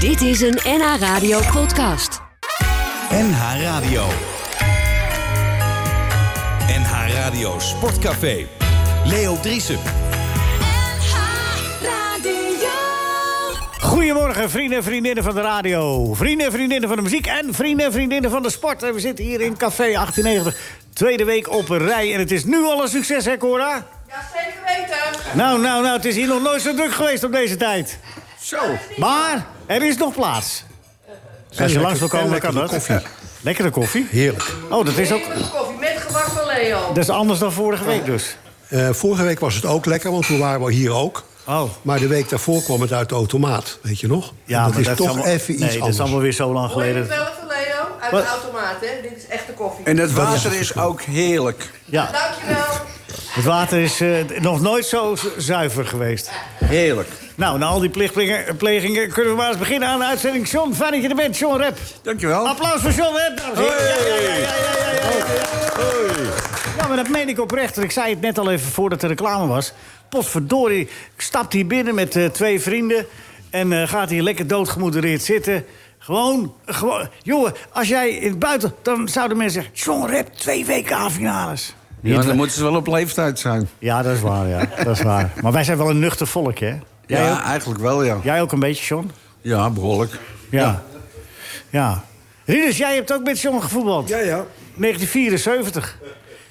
Dit is een NH Radio podcast. NH Radio. NH Radio Sportcafé. Leo Driesen. Goedemorgen, vrienden en vriendinnen van de radio. Vrienden en vriendinnen van de muziek en vrienden en vriendinnen van de sport. En we zitten hier in Café 1890, tweede week op een rij. En het is nu al een succes, hè, Cora? Ja, zeker weten. Nou, nou, nou, het is hier nog nooit zo druk geweest op deze tijd. Zo. Maar er is nog plaats. Als je langs wil komen, dan kan dat. Lekkere koffie. Heerlijk. Oh, dat is ook... Even koffie met gebak van Leo. Dat is anders dan vorige week dus. Eh, vorige week was het ook lekker, want toen waren we hier ook. Oh. Maar de week daarvoor kwam het uit de automaat, weet je nog? En dat is toch allemaal- even iets nee, dat anders. is allemaal weer zo lang Hoor je het geleden. wel van Leo? Uit Wat? de automaat, hè? Dit is echte koffie. En het water is ook heerlijk. Ja, Dankjewel. het water is eh, nog nooit zo z- zuiver geweest. Heerlijk. Nou, na al die plichtplegingen plegingen kunnen we maar eens beginnen aan de uitzending. John, fijn dat je er bent, John Rep. Dankjewel. Applaus voor John Rep. dames en heren. Ja, ja, ja, ja, ja, ja, ja. Ja, maar dat meen ik oprecht. Ik zei het net al even voordat de reclame was. Potverdorie, ik stapt hier binnen met eh, twee vrienden... en eh, gaat hier lekker doodgemoedereerd zitten... Gewoon, gewoon, jongen, als jij in het buiten... dan zouden mensen zeggen, John Rep, twee WK-finales. Ja, dan moeten ze wel op leeftijd zijn. Ja, dat is waar, ja. Dat is waar. Maar wij zijn wel een nuchter volk, hè? Jij, Ja, ook, eigenlijk wel, ja. jij ook een beetje, John? Ja, behoorlijk. Ja. Ja. Rinus, jij hebt ook met John gevoetbald. Ja, ja. 1974.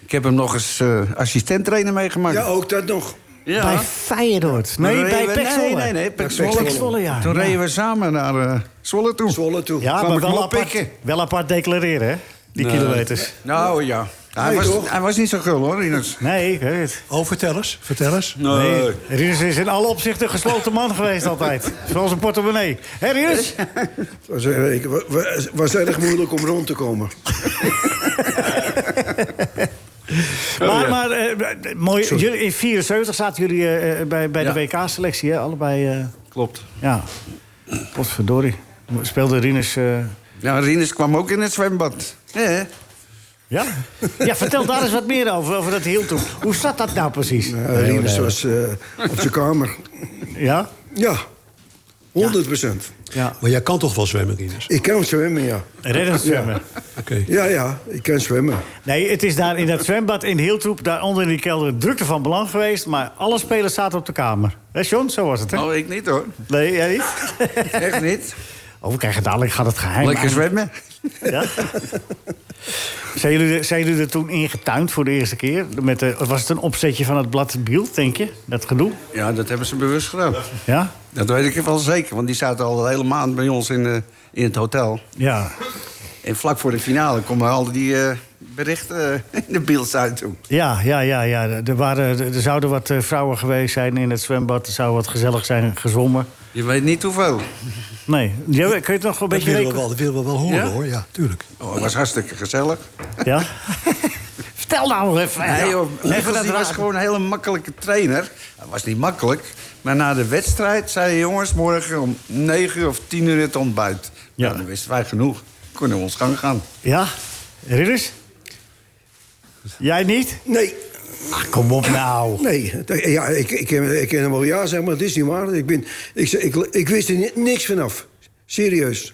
Ik heb hem nog eens eh assistent-trainer meegemaakt. Ja, ook dat nog. Ja. Bij Feyenoord. Nee, Dan bij reden we- Pek Zwolle. Nee, nee, nee. Pek Ja, Zwolle. Pek Zwolle, ja. Toen Ja. reden we samen naar eh, Zwolle toe. Zwolle toe. Ja, Kwam maar ik hem wel apart, oppikken. wel apart declareren, hè? Die kilometers. Nou ja. Hij, Nee, was, toch? hij was niet zo gul hoor, Rinus. Nee, ik weet het. Oh, vertel eens, vertel eens. Nee. Rinus is in alle opzichten een gesloten man geweest altijd. Zoals een portemonnee. Hé, Rinus? Het was, eh, ik- wa- wa- Het was erg moeilijk om rond te komen. Oh, Maar, maar eh, mooi, jullie, in 74 zaten jullie eh, eh, bij, bij de WK-selectie, hè? Allebei, eh, Klopt. ja. Potverdorie. Speelde Rinus... eh, Ja, Rinus kwam ook in het zwembad. Hè? Ja? Ja, vertel daar eens wat meer over, over dat heel toen. Hoe zat dat nou precies? Eh, Rinus was eh, op zijn kamer. Ja? Ja, 100 procent. Ja. Maar jij kan toch wel zwemmen, Rinus? Ik kan zwemmen, ja. Reddingszwemmen. Oké. Ja, ja, ik kan zwemmen. Nee, het is daar in dat zwembad in Heeltroep, daaronder in die kelder, drukte van belang geweest. Maar alle spelers zaten op de kamer. Hé, John, zo was het, hè? Oh, ik niet hoor. Nee, jij niet? Echt niet. Oh, we krijgen dadelijk, gaat het geheim Lekker aan. zwemmen. Ja? zijn, jullie, zijn jullie er toen ingetuind voor de eerste keer? Met de, was het een opzetje van het blad Bielt, denk je? Dat gedoe? Ja, dat hebben ze bewust gedaan. Ja? Dat weet ik wel zeker, want die zaten al een hele maand bij ons in, eh, in het hotel. Ja. En vlak voor de finale komen al die eh, berichten eh, in de beeld uit toen. Ja, ja, ja, ja. Er, waren, er zouden wat eh, vrouwen geweest zijn in het zwembad. Er zou wat gezellig zijn gezongen. Je weet niet hoeveel. Nee, ja, kun je het nog wel een Dat beetje willen we reco- wel, dat willen we wel horen, Ja? hoor. Ja, tuurlijk. Oh, het was hartstikke gezellig. Ja? Vertel nou nog even. Nee, Ja. joh, Michels, dat die was raar. gewoon een hele makkelijke trainer. Hij was niet makkelijk. Maar na de wedstrijd zei hij, jongens, morgen om 9 of 10 uur het ontbijt. Ja. Ja. dan wisten wij genoeg. Kunnen we ons gang gaan. Ja? Ridders? Jij niet? Nee, Ach, kom op nou. nee. dat- Ja, ik, ik, ken- ik ken hem wel ja, zeg maar. Het is niet waar. Ik, ben, ik, ze- ik, ik wist er ni- niks vanaf. Serieus.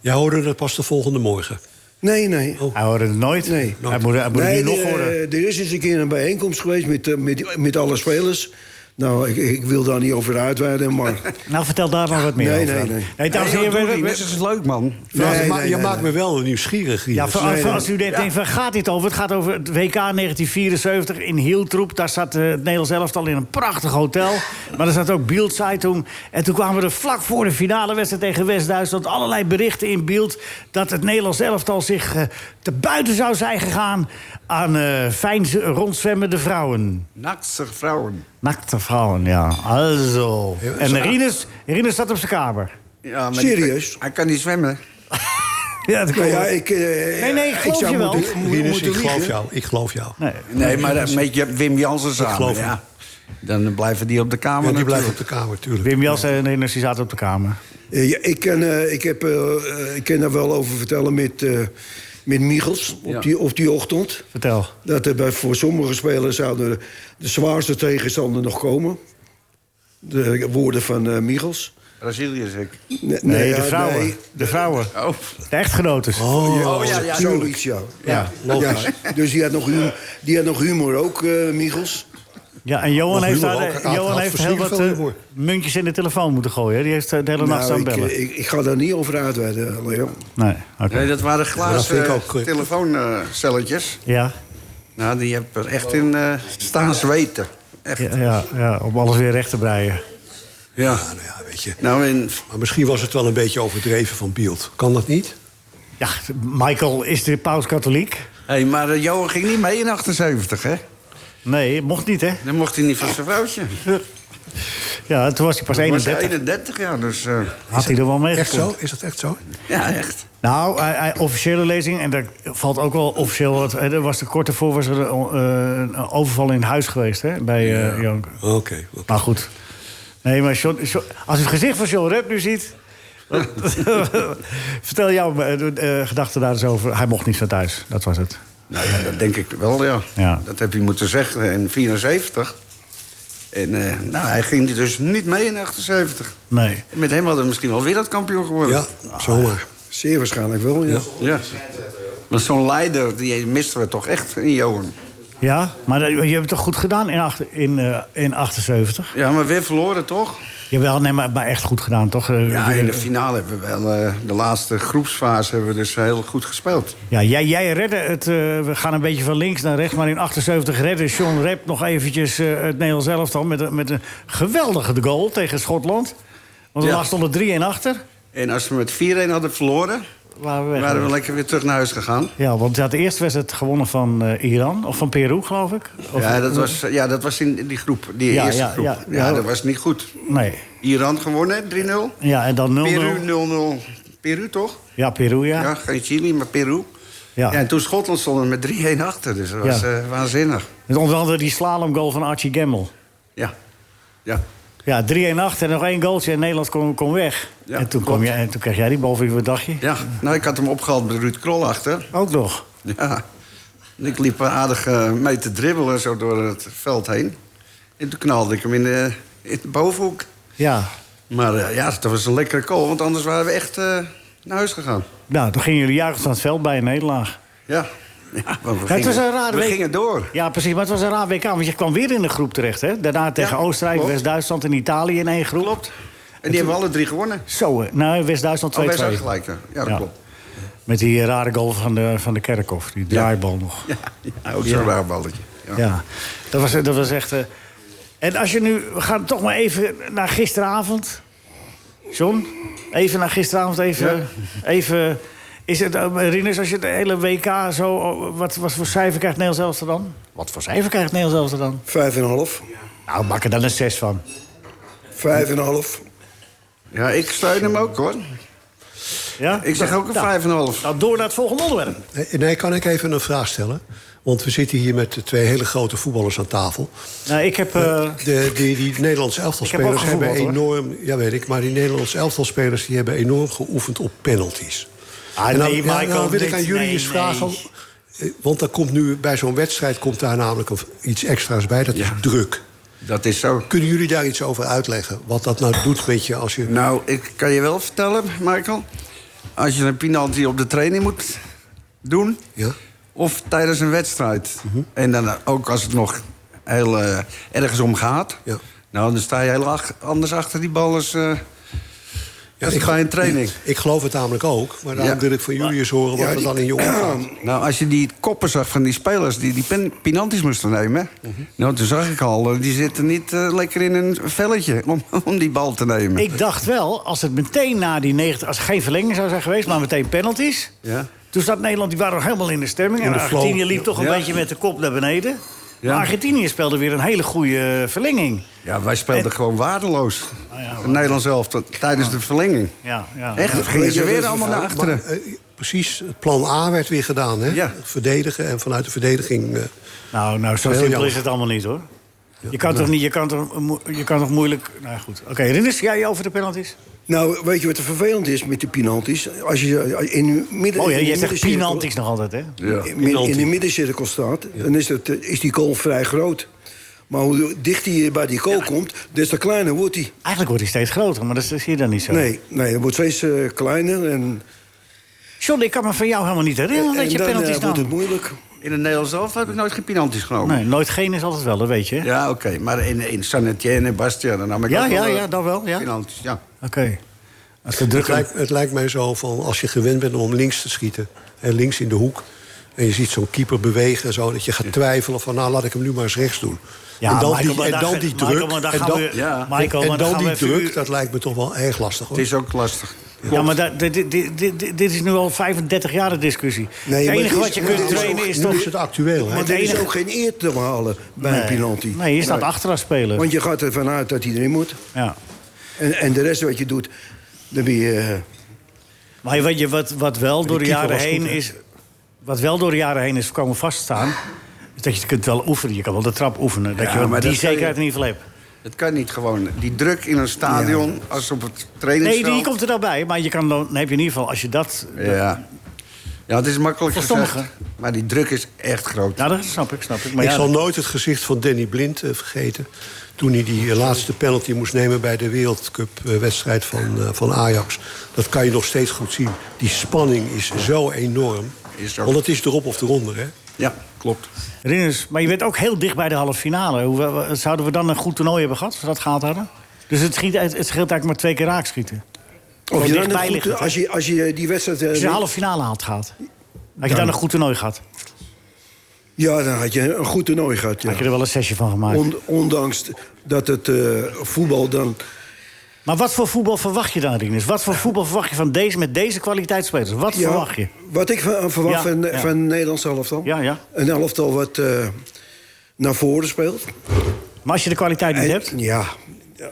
Jij hoorde dat pas de volgende morgen. Nee, nee. Hij hoorde het nooit. Nee. Oh. Nou, Hij moet, hij moet Nee, het nu nog eh, horen. Er is eens een keer een bijeenkomst geweest met, eh, met, met alle spelers. Nou, ik, ik wil daar niet over uitweiden, maar... Nou, vertel daar maar wat meer Nee, over. nee, nee. dames en heren, Hey, joh, doe we- niet, we- dit is leuk, man. Ja, nee, je ma- nee, je nee, maakt nee. me wel nieuwsgierig, Ja, Rinus. voor- nee, voor nee. als u denkt, denkt, waar gaat dit over? Het gaat over het WK 1974 in Hieltroep. Daar zat eh, het Nederlands elftal in een prachtig hotel. Maar er zat ook Beeld Zeitung. En toen kwamen er vlak voor de finale wedstrijd tegen West-Duitsland... allerlei berichten in beeld dat het Nederlands elftal zich eh, te buiten zou zijn gegaan... aan eh fijn z- rondzwemmende vrouwen. Nachtse vrouwen. Nakte vrouwen, ja. Also. En Rinus, Rinus zat op zijn kamer. Ja, maar die- Serieus? hij kan niet zwemmen. Ja, dat Nou klopt. ja, ik... eh, Oh. Nee, nee, ik geloof zou je wel. moeten- mo- Rinus, moeten ik geloof liegen. jou. Ik geloof jou. Nee. Nee, maar dat- met je- Wim Jansen samen. geloof ik. ja. Dan blijven die op de kamer. Maar die blijft op natuurlijk. de kamer, tuurlijk. Wim Jansen en Rinus die zaten op de kamer. Eh, ja, ik, kan, eh, ik, heb, eh, eh, ik kan daar wel over vertellen met, eh, met Michels op, Ja. die, op die ochtend. Vertel. Dat er bij, voor sommige spelers zouden de zwaarste tegenstander nog komen. De woorden van eh Michels. Brazilië zeg ik. Nee, Nee, ja, de vrouwen. nee. De vrouwen. Oh, De echtgenotes. oh ja, ja. Zoiets, ja. Ja, logisch. dus die had nog humor, die had nog humor ook, eh Michels. Ja, en Johan Nog heeft, humor daar, ook. eh, Had- Johan had heeft heel versierd wat veel eh, humor. muntjes in de telefoon moeten gooien. hè. Die heeft eh, de hele nacht Nou, aan ik, bellen. eh, ik, ik ga daar niet over uitweiden, Leo. nee, oké. Nee, dat waren Dat vind glazen ik ook, eh, telefooncelletjes. Ja, nou, die heb er echt in eh, staan zweten. Echt. ja, ja, ja, om alles weer recht te breien. Ja. Nou ja, weet je. Nou, in, Maar misschien was het wel een beetje overdreven van Beeld. Kan dat niet? Ja, Michael is de paus katholiek. hey, maar eh, Johan ging niet mee in 78, hè? Nee, mocht niet, hè? Dan mocht hij niet van zijn vrouwtje. Ja, toen was hij pas Hij was 31. 31 jaar, dus... eh, Had hij er wel mee Echt zo? gekund. Is dat echt zo? ja, echt. Nou, hij- hij- officiële lezing, en daar valt ook wel officieel wat... hè, Er was de korte voor was er een, eh, een overval in het huis geweest, hè? Bij eh, Jan. Oké. oké. Maar goed. Nee, maar John- John- als je het gezicht van John Rep nu ziet... dan- Vertel jouw eh, eh, gedachten daar eens over. Hij mocht niet van thuis, dat was het. Nou ja, dat denk ik wel, ja. Ja. Dat heb je moeten zeggen in 74. En eh, nou, hij ging dus niet mee in 78. Nee. En Met hem hadden we misschien wel wereldkampioen geworden. Ja, zomaar. Zeer waarschijnlijk wel, ja. Ja. Maar zo'n leider, die misten we toch echt in Johan. Ja, maar dat- je hebt het toch goed gedaan in, acht- in, eh, in 78? Ja, maar weer verloren, toch? Jawel, nee, maar, maar echt goed gedaan, toch? Eh, Ja, weer- in de finale hebben we wel... eh, de laatste groepsfase hebben we dus heel goed gespeeld. Ja, jij, jij redde het. eh, we gaan een beetje van links naar rechts. Maar in 78 redde John Rep nog eventjes eh, het Nederlands elftal... Met, een- met een geweldige goal tegen Schotland. Want we Ja. lagen stonden 3-1 achter. En als we met 4-1 hadden verloren... Waren we weg. waren we lekker weer terug naar huis gegaan. Ja, want ja, de eerste wedstrijd gewonnen van eh, Iran. Of van Peru, geloof ik. Of- Ja, dat was, ja, dat was in die groep, die Ja, eerste ja, groep. ja, Ja, ja. dat was niet goed. Nee. Iran gewonnen, 3-0. Ja, en dan 0-0. Peru 0-0. Peru toch? Ja, Peru, Ja. ja. Ja, geen Chili, maar Peru. Ja. Ja. en toen Schotland stonden met 3-1 achter. Dus dat was Ja. eh, waanzinnig. Met onder andere die slalomgoal van Archie Gemmel. Ja. Ja. Ja, 3-1 achter en nog één goaltje en Nederland kon, kon weg. Ja, en, toen klopt. kwam jij, en toen kreeg jij die bal voor je wat dacht je? ja. Nou, ik had hem opgehaald met Ruud Krol achter. Ook nog. Ja. En ik liep aardig eh, mee te dribbelen zo door het veld heen. En toen knalde ik hem in de, in de bovenhoek. Ja. Maar eh, ja, dat was een lekkere goal, want anders waren we echt eh, naar huis gegaan. Nou, toen gingen jullie juichen van het veld bij een nederlaag. Ja. ja want we Ja, het was gingen- een rare We week. gingen door. Ja, precies. Maar het was een raar WK, want je kwam weer in de groep terecht, hè? Daarna tegen Oostenrijk, klopt. West-Duitsland en Italië in één groep. Klopt. En die hebben we alle drie gewonnen. Zo, hè. nou, West-Duitsland 2-2. Oh, wij zijn gelijk. hè? Ja, dat Ja. klopt. Met die eh, rare goal van de, van de Kerkhoff, die draaibal nog. Ja, ja ook zo'n raar balletje. Ja. Ja, dat was, dat was echt... eh, En als je nu... We gaan toch maar even naar gisteravond. John, even naar gisteravond. Even... even is het, eh, Rinus, als je de hele WK zo... oh, Wat, wat voor cijfer krijgt Nederland zelfs er dan? Wat voor cijfer krijgt Nederland zelfs er dan? Vijf en een half. Nou, maak er dan een 6 van. Vijf en een half. Ja, ik steun hem ook hoor. Ja? Ik zeg ook Nou, een 5,5. Nou, door naar het volgende onderwerp. Nee, Nee, kan ik even een vraag stellen? Want we zitten hier met twee hele grote voetballers aan tafel. Nou, ik heb... eh, De, die, die Nederlandse Ik elftalspelers heb ook hebben gevoetbald, hoor. enorm... Ja, weet ik. Maar die Nederlandse elftalspelers die hebben enorm geoefend op penalties. Ah, En dan, nee, ja, Michael, dan wil dit- ik aan jullie nee, eens vragen... nee. eh, Want dan komt nu, bij zo'n wedstrijd komt daar namelijk een- iets extra's bij. Dat is Ja. druk. Dat is zo. Kunnen jullie daar iets over uitleggen? Wat dat nou doet, weet je, als je... Nou, ik kan je wel vertellen, Michael. Als je een penalty op de training moet doen. Ja? Of tijdens een wedstrijd. En dan ook als het nog heel eh, ergens om gaat. Ja. Nou, dan sta je heel ach- anders achter die bal als, eh als ik- bij een training. Ik geloof het namelijk ook. Maar daarom Ja. wil ik van jullie eens horen wat er dan in je omgaat. Nou, als je die koppen zag van die spelers die die pen, penalties moesten nemen... Nou, toen zag ik al, eh, die zitten niet eh, lekker in een velletje om, om die bal te nemen. Ik dacht wel, als het meteen na die 90... Als er geen verlenging zou zijn geweest, maar meteen penalties... Ja. Toen zat Nederland, die waren nog helemaal in de stemming. In en de flow. Argentinië liep toch een Ja. beetje met de kop naar beneden. Ja. Maar Argentinië speelde weer een hele goede eh, verlenging. Ja, wij speelden En- Ah, gewoon waardeloos. ja, Het waar- Nederlands zelf tijdens de verlenging. Ja, ja. Echt, dat gingen weet je ze wat weer het allemaal naar verhaal- achteren. Eh, precies, plan A werd weer gedaan, hè? Ja. Verdedigen en vanuit de verdediging... eh, Nou, nou, zo Heel simpel jammer. is het allemaal niet, hoor. Je kan toch niet, je kan toch, mo- je kan toch moeilijk... Nou goed, oké, Rinus, jij over de penalties? Nou, weet je wat er vervelend is met de penalties? Als je eh, in de midden... Oh ja, in de jij zegt middencirkel- penalties nog altijd, hè? in, in de middencirkel staat, dan is, dat, eh, is die goal vrij groot. Maar hoe dichter je bij die kool komt, des te kleiner wordt hij. Eigenlijk wordt hij steeds groter, maar dat zie je dan niet zo. Nee, nee, het wordt steeds eh, kleiner en, John, ik kan me van jou helemaal niet herinneren en dat je dan eh, penalties nam. wordt het moeilijk. In het Nederlands zelf heb ik nooit geen penalties genomen. Nee, nooit geen is altijd wel, dat weet je. hè? Ja, oké. Maar in, in San Etienne en Bastia, dan nam ik Ja, ook ja, wel, eh, ja, dat wel, ja. Penalties, ja. Oké. Als de druk Het lijkt, het lijkt mij zo van als je gewend bent om links te schieten en links in de hoek. En je ziet zo'n keeper bewegen en zo, dat je gaat twijfelen van nou laat ik hem nu maar eens rechts doen. Ja, en dan Michael, die, maar en daar- dan die Michael, druk. maar daar en gaan dan, we- Ja. Michael, en maar daar dan gaan we die even druk, uur- dat lijkt me toch wel erg lastig hoor. Het is ook lastig. Ja, maar dat- dit, dit, dit, dit- dit is nu al 35 jaar de discussie. het enige wat je kunt trainen is, nu toch... is het actueel. Hè? Maar er is enige- ook geen eer te halen bij een penalty. Nee, je staat achter als speler. Want je gaat ervan uit dat hij erin moet. Ja. En, en de rest wat je doet, dan ben je... eh, Maar wat, je, wat, wat wel door de keeper jaren was heen goed, hè? is... Wat wel door de jaren heen is komen vaststaan... is dat je het kunt wel oefenen. Je kan wel de trap oefenen. Dat Ja, je wel maar die dat kan je- zekerheid in ieder geval hebt. Het kan niet gewoon. Die druk in een stadion, als op het trainingsveld... Nee, die komt er dan bij. Maar je kan dan, dan heb je in ieder geval, als je dat... Ja. ja, het is makkelijk Voor gezegd. sommigen. Maar die druk is echt groot. Nou, dat snap ik, snap ik. Maar ik ja, zal nooit het gezicht van Danny Blind eh, vergeten. Toen hij die eh, laatste penalty moest nemen bij de Wereldcup-wedstrijd van, eh, van Ajax. Dat kan je nog steeds goed zien. Die spanning is zo enorm. Is er- Want het is erop of eronder, hè? Ja, klopt. Rinus, maar je bent ook heel dicht bij de halve finale. Hoe, we- zouden we dan een goed toernooi hebben gehad, als we dat gehaald hadden? Dus het, schiet, het, het scheelt eigenlijk maar twee keer raakschieten. Of je dan dichtbij een ligt goed, het, hè? als, je, als je die wedstrijd... eh, Als je de wint, halve finale haalt gehad, had je dan een goed toernooi gehad. Ja, dan had je een goed toernooi gehad. Ja. Had je er wel een sessie van gemaakt. On- ondanks dat het eh, voetbal dan... Maar wat voor voetbal verwacht je dan, Rinus? Wat voor voetbal verwacht je van deze, met deze kwaliteitsspelers? Wat Ja, verwacht je? Wat ik van- verwacht Ja, van, ja. van Nederlands elftal. Ja, ja. Een elftal wat eh, naar voren speelt. Maar als je de kwaliteit niet En- hebt... Ja. eh,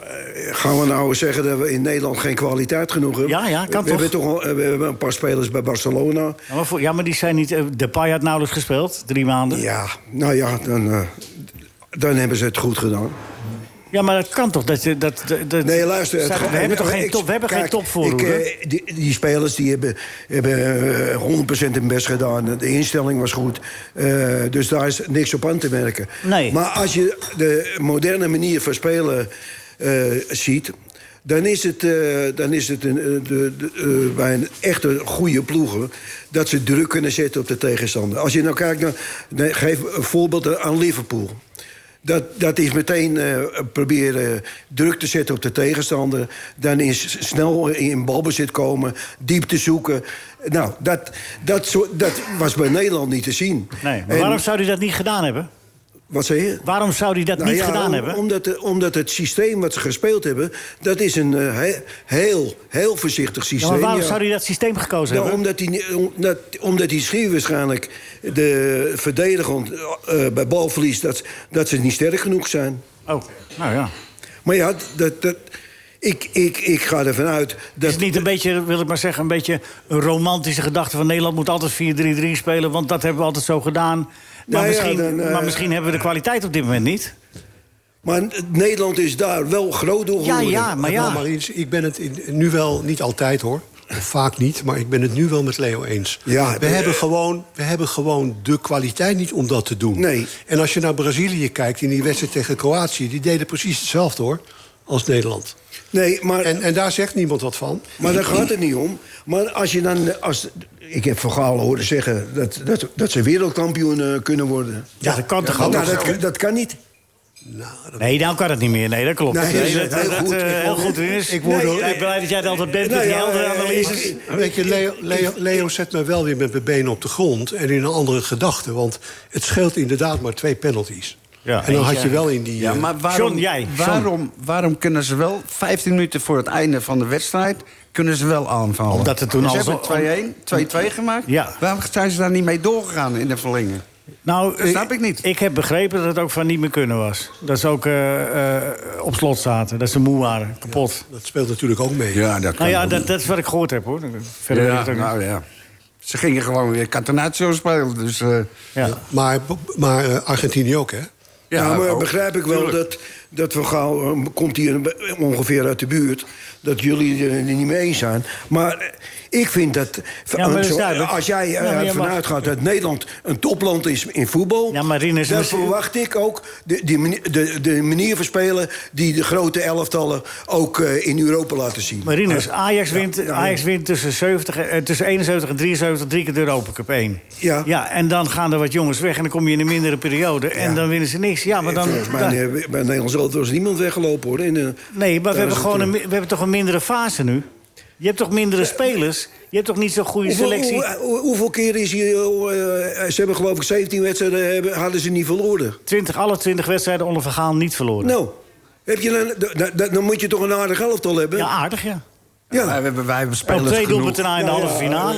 Gaan we nou zeggen dat we in Nederland geen kwaliteit genoeg hebben? Ja, ja, kan we Hebben toch? toch al- eh, we hebben een paar spelers bij Barcelona. Ja, maar, voor- ja, maar die zijn niet... eh, Depay had nauwelijks gespeeld, drie maanden. Ja, Ja, nou ja, dan, eh, dan hebben ze het goed gedaan. maar dat kan toch? Dat, je- dat, dat, dat- Nee, luister. Zeg, het- we hebben toch ik- geen top, we hebben geen kijk, topvoorhoede? ik, eh, die, die spelers die hebben, hebben eh, 100% hun best gedaan. De instelling was goed. Eh, dus daar is niks op aan te merken. Nee. Maar als je de moderne manier van spelen eh, ziet... Dan is het, eh, dan is het een, eh, de, de, eh, bij een echte goede ploegen dat ze druk kunnen zetten op de tegenstander. Als je nou kijkt naar. nee, geef een voorbeeld aan Liverpool. Dat, dat is meteen eh, proberen druk te zetten op de tegenstander. Dan is snel in balbezit komen, diep te zoeken. Nou, dat, dat, zo, dat was bij Nederland niet te zien. Nee, maar En- waarom zou hij dat niet gedaan hebben? Wat zei je? Waarom zou hij dat Nou niet ja, gedaan om- hebben? Omdat, de- omdat het systeem wat ze gespeeld hebben... dat is een eh, he- heel, heel voorzichtig systeem. Ja, maar waarom ja. zou hij dat systeem gekozen Nou, hebben? omdat, die, ni- omdat, omdat die schier waarschijnlijk de verdedigend eh, bij balverlies... Dat, dat ze niet sterk genoeg zijn. Oh, nou ja. Maar ja, dat, dat, ik, ik, ik ga ervan uit Is dat... het niet een beetje, wil ik maar zeggen, een beetje een romantische gedachte van Nederland moet altijd 4-3-3 spelen, want dat hebben we altijd zo gedaan. Maar, Nou ja, misschien, dan, eh, maar misschien hebben we de kwaliteit op dit moment niet. Maar Nederland is daar wel groot door Ja, geworden. ja, Ah, maar Nou, ja. maar eens, ik ben het in- nu wel, niet altijd hoor, of vaak niet, maar ik ben het nu wel met Leo eens. Ja, we, eh, hebben gewoon, we hebben gewoon de kwaliteit niet om dat te doen. Nee. En als je naar Brazilië kijkt in die wedstrijd tegen Kroatië, die deden precies hetzelfde hoor, als Nederland. Nee, maar, En, en daar zegt niemand wat van. maar daar gaat het niet om. Maar als je dan... Als, ik heb Van Gaal horen zeggen dat, dat, dat ze wereldkampioen eh, kunnen worden. Ja, dat kan toch ook? nou, dat, dat kan niet. Nee, nou kan het niet meer. Nee, dat klopt. Nee, Nee, dat- heel goed. eh, Ik heel word- goed, Rinus. ik word Nee, ook- ik ben blij dat jij het altijd bent Nou met die ja, heldere eh, analyses. ik- Weet je, Leo, Leo, Leo zet mij wel weer met mijn benen op de grond en in een andere gedachte. Want het scheelt inderdaad maar twee penalties. Ja. en dan had Eentje. je wel in die. Ja, eh, maar waarom, John, jij. John. Waarom, waarom kunnen ze wel 15 minuten voor het einde van de wedstrijd... kunnen ze wel aanvallen? Dus Omdat er toen ze alles- hebben 2-1, 2-2 gemaakt. Ja. Waarom zijn ze daar niet mee doorgegaan in de verlenging? Nou, Dat snap ik niet. Ik heb begrepen dat het ook van niet meer kunnen was. Dat ze ook eh, eh, op slot zaten. Dat ze moe waren, kapot. Dat speelt natuurlijk ook mee. dat Nou ja, dat, dat is wat ik gehoord heb, hoor. Verder weet ik Ja, het ook niet. nou ja. Ze gingen gewoon weer Catenaccio spelen, dus... eh, Ja. Maar, maar eh, Argentinië ook, hè? Ja, Nou, maar ook. begrijp ik wel oh, Tuurlijk. dat, dat we gauw, eh, komt hier ongeveer uit de buurt... dat jullie er niet mee eens zijn. Maar eh, ik vind dat... eh, Ja, maar dat is zo- duidelijk. als jij Ja, eh, maar jij mag- ervan uitgaat dat Nederland een topland is in voetbal... Ja, maar Rinus, dan misschien- verwacht ik ook de, die manier, de, de manier van spelen... die de grote elftallen ook eh, in Europa laten zien. Marinus, Eh, Ajax wint, ja, Ajax wint tussen, 70, en- eh, tussen 71 en 73 drie keer de Europa Cup 1. Ja. ja. En dan gaan er wat jongens weg en dan kom je in een mindere periode. En Ja. dan winnen ze niks. Ja, maar dan... Volgens mij dan- eh, bij Nederlands elftal is niemand weggelopen, hoor. In, eh, nee, maar we hebben, tijdens gewoon het, een, eh, mi- we hebben toch een mindere fase nu? Je hebt toch mindere spelers? Je hebt toch niet zo'n goede selectie? Hoeveel, hoe- hoe- hoeveel keer is hij... eh, eh, ze hebben geloof ik 17 wedstrijden hebben, hadden ze niet verloren. 20, alle 20 wedstrijden onder vergaan niet verloren. Nou, heb je dan, da- da- da- dan moet je toch een aardig elftal hebben? Ja, aardig, ja. Ja. Wij hebben, wij hebben Op spelers twee genoeg. doelpunten na in de Ja, halve ja, finale.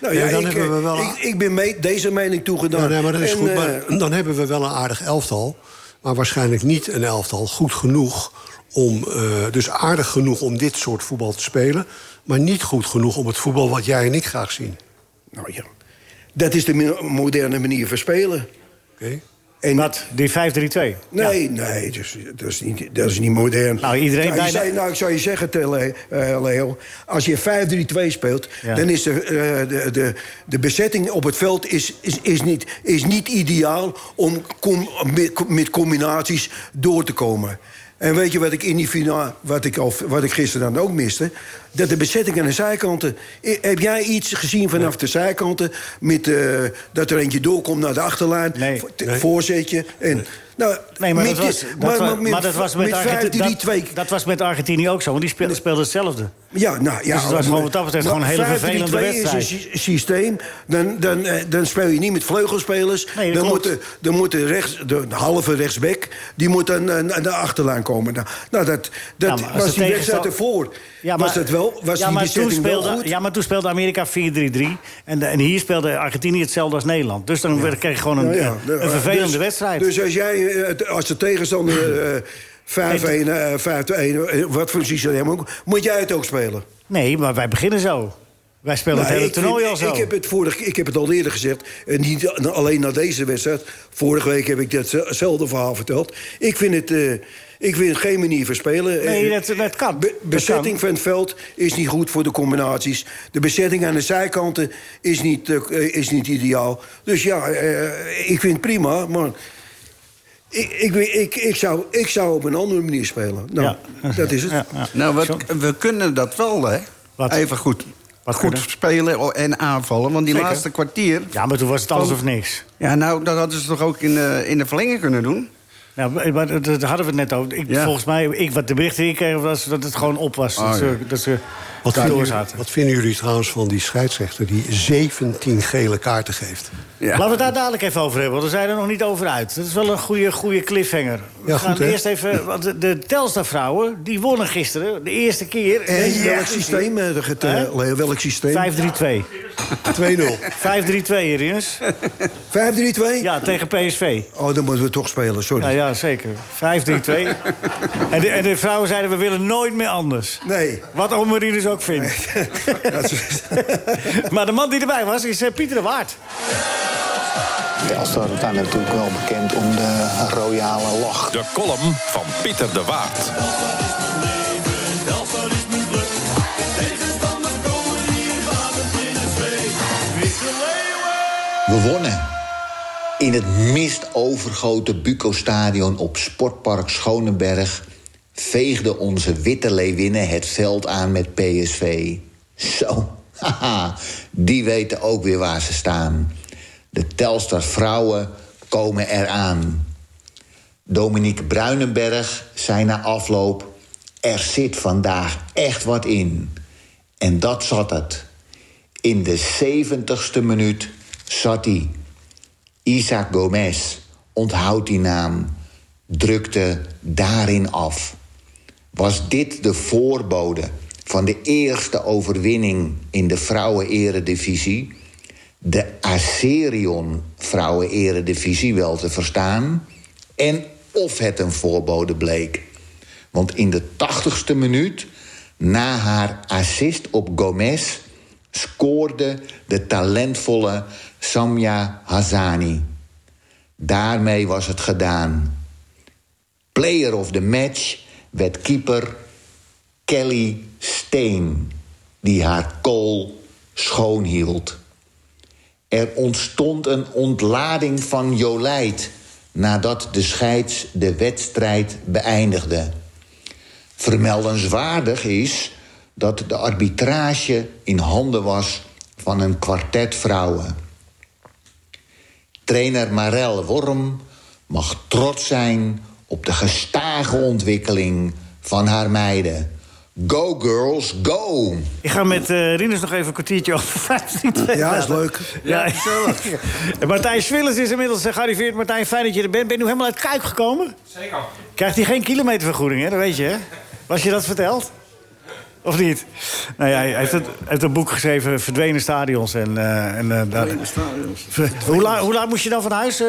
Nou Nee, ja, dan ik, hebben we eh, wel- ik, ik ben mee, deze mening toegedaan. Ja, nee, maar dat is En, goed. eh, Maar dan hebben we wel een aardig elftal. Maar waarschijnlijk niet een elftal goed genoeg om... eh, dus aardig genoeg om dit soort voetbal te spelen... maar niet goed genoeg om het voetbal wat jij en ik graag zien. nou ja, dat is de mo- moderne manier van spelen. Oké? En Wat? Die 5-3-2? Nee, nee, dus, dat, is niet, dat is niet modern. Nou, iedereen nou, je bijna- zei- nou, ik zou je zeggen, Tel- eh, Leo... als je 5-3-2 speelt, Ja. dan is de, eh, de, de, de bezetting op het veld is, is, is niet, is niet ideaal... om com- met, met combinaties door te komen. En weet je wat ik in die finale, wat ik, al, wat ik gisteren dan ook miste? Dat de bezetting aan de zijkanten. I- Heb jij iets gezien vanaf de zijkanten? Met, eh, dat er eentje doorkomt naar de achterlijn? Nee. Vo- te- voorzetje. En, nou, Nee, maar met dat was, dit- dat maar- wa- maar met- maar dat was met, met vijf, Argentinië. die Dat, twee. Dus- dat was met Argentinië ook zo, want die speelde, speelde hetzelfde. Ja, nou, ja, Dus het was gewoon wat dat betreft gewoon een hele maar 5-3-2 vervelende is een sy- systeem. Dan, dan, eh, dan speel je niet met vleugelspelers. Nee, dat dan, moet klopt. de, dan moet de, rechts, de halve rechtsback die moet dan eh, naar de achterlijn komen. Nou, nou dat, Ja, dat maar als de was die wedstrijd tegenstander- ervoor. was dat wel? Was ja, die maar toen bezetting wel speelde, goed? Ja, maar toen speelde Amerika 4-3-3. En, de- en hier speelde Argentinië hetzelfde als Nederland. Dus dan werd- kreeg je gewoon een, Nou ja, een nou, vervelende dus- wedstrijd. Dus als, jij, eh, het- als de tegenstander eh, 5-1, eh, 5-2-1, eh, wat voor precies dan ook, moet jij het ook spelen? nee, maar wij beginnen zo. Wij spelen Nou, het hele ik toernooi vind- al zo. Ik heb, het vorig, ik heb het al eerder gezegd, en niet a- alleen na deze wedstrijd. Vorige week heb ik datzelfde verhaal verteld. Ik vind het, eh, ik vind het geen manier van spelen. Nee, Eh, dat- dat kan. be- Dat bezetting kan. van het veld is niet goed voor de combinaties. De bezetting aan de zijkanten is niet, eh, is niet ideaal. Dus ja, eh, ik vind het prima, maar... Ik, ik, ik, ik, zou, ik zou op een andere manier spelen. Nou, Ja. dat is het. Ja, ja. Nou, Zo. we, we kunnen dat wel, hè? Wat? Even goed, Wat goed kunnen? spelen en aanvallen. Want die Zeker. laatste kwartier... Ja, maar toen was het alles Oh. of niks. Ja, nou, dat hadden ze toch ook in, eh, in de verlenging kunnen doen? Nou, maar- maar dat- daar hadden we het net over. Ik, Ja. Volgens mij, ik, wat de berichten die ik kreeg, was dat het gewoon op was. Ah, dat, ze, ja. dat ze Wat, daar vinden door jullie, zaten. wat vinden jullie trouwens van die scheidsrechter... die 17 gele kaarten geeft? Ja. Laten we het daar dadelijk even over hebben, want we zijn er nog niet over uit. Dat is wel een goede, goede cliffhanger. We Ja, gaan goed, hè? eerst even. Want de, de Telstar-vrouwen die wonnen gisteren, de eerste keer. En Deze welk systeem, eh, dat het, eh, Hè? Leo, welk systeem? 5-3-2. 2-0. 5-3-2, Rinus. 5-3-2? Ja, tegen PSV. Oh, dan moeten we toch spelen, sorry. Ja, ja zeker. 5-3-2. En de, en de vrouwen zeiden: we willen nooit meer anders. Nee. Wat oma Rinus ook vindt. Dat is- maar de man die erbij was, is eh, Pieter de Waard. Telstar zijn natuurlijk wel bekend om de royale lach. De column van Pieter de Waard. We wonnen. In het mistovergoten Buco-stadion op Sportpark Schoneberg... veegde onze witte Leeuwinnen het veld aan met PSV. Zo, haha, die weten ook weer waar ze staan. De Telstar vrouwen komen eraan. Dominique Bruinenberg zei na afloop... er zit vandaag echt wat in. En dat zat het. In de 70ste minuut zat hij. Isaac Gomez, onthoud die naam, drukte daarin af. Was dit de voorbode van de eerste overwinning in de vrouwen-eredivisie? De Aserion vrouwen-eredivisie wel te verstaan? En of het een voorbode bleek? Want in de 80ste minuut, na haar assist op Gomez, scoorde de talentvolle Samia Hazani. Daarmee was het gedaan. Player of the match werd keeper Kelly Steen, die haar kool schoonhield. Er ontstond een ontlading van Jolijt nadat de scheids de wedstrijd beëindigde. Vermeldenswaardig is dat de arbitrage in handen was van een kwartet vrouwen. Trainer Marel Worm mag trots zijn op de gestage ontwikkeling van haar meiden. Go girls, go! Ik ga met eh Rinus nog even een kwartiertje over 15 Ja, is praten. leuk. Ja, En Martijn Schwillers is inmiddels eh, gearriveerd. Martijn, fijn dat je er bent. Ben je nu helemaal uit Kuik gekomen? Zeker. Krijgt hij geen kilometervergoeding, hè? Dat weet je, hè? Was je dat verteld? Of niet? Nou ja, hij heeft, het, hij heeft een boek geschreven, Verdwenen Stadions. En, eh, en, eh, daar... Ver- hoe, laat, hoe laat moest je dan van huis? eh?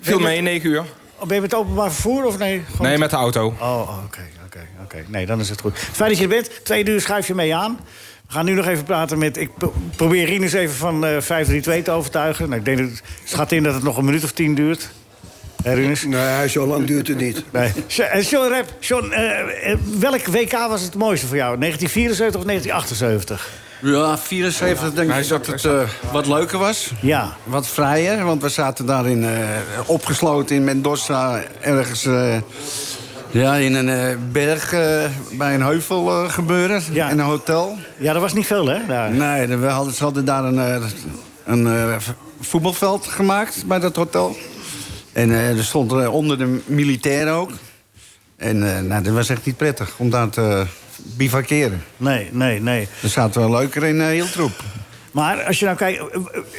Viel mee, 9 uur. ben je met openbaar vervoer of nee? Gewoon- Nee, met de auto. Oh, oké, oké, oké. Nee, dan is het goed. Fijn dat je er bent. Twee uur schuif je mee aan. We gaan nu nog even praten met... Ik pro- probeer Rinus even van eh 532 te overtuigen. Nou, ik denk dat het schat in dat het nog een minuut of tien duurt. Hè, Rinus? Nee, zo lang duurt het niet. Nee. Jo- eh, John Rep, John, eh, eh, welk WK was het mooiste voor jou? 1974 of 1978? Ja, 74 denk ik dat het eh, wat leuker was. Ja. Wat vrijer, want we zaten daarin eh, opgesloten in Mendoza. Ergens eh, ja, in een eh, berg eh, bij een heuvel eh, gebeuren. Ja. In een hotel. Ja, dat was niet veel, hè? daar? Nee, we hadden, ze hadden daar een, eh, een eh, v- voetbalveld gemaakt bij dat hotel. En eh, er stond eh, onder de militairen ook. En eh, nou, dat was echt niet prettig om daar te eh, bivakeren. Nee, nee, nee. Er zaten wel leuker in eh, heel troep. Maar als je nou kijkt,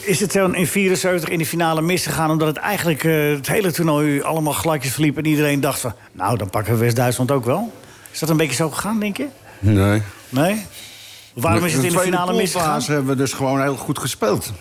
is het dan in 74 in de finale misgegaan... omdat het eigenlijk eh, het hele toernooi allemaal gladjes verliep... en iedereen dacht van, nou, dan pakken we West-Duitsland ook wel. Is dat een beetje zo gegaan, denk je? Nee. Nee? Waarom is het in de tweede finale misgegaan? poolfase hebben we dus gewoon heel goed gespeeld.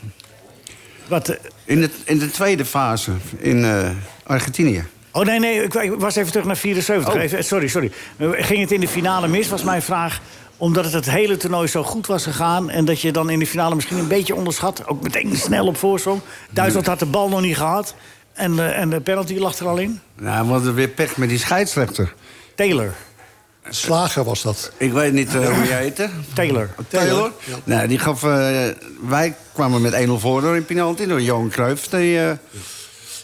Wat, eh, In de, in de tweede fase in eh, Argentinië. oh, nee, nee, ik, ik was even terug naar 74. Oh. Even, sorry, sorry. Eh, Ging het in de finale mis, was mijn vraag... omdat het het hele toernooi zo goed was gegaan... en dat je dan in de finale misschien een beetje onderschat... ook meteen snel op voorsprong. Duitsland had de bal nog niet gehad... en, eh, en de penalty lag er al in. Nou, we hadden weer pech met die scheidsrechter. Taylor. Slager was dat. Ik weet niet eh, hoe jij heette. Taylor. Taylor? Nou, die gaf, eh, wij kwamen met 1-0 voor door in penalty door Johan Cruijff. Die, eh,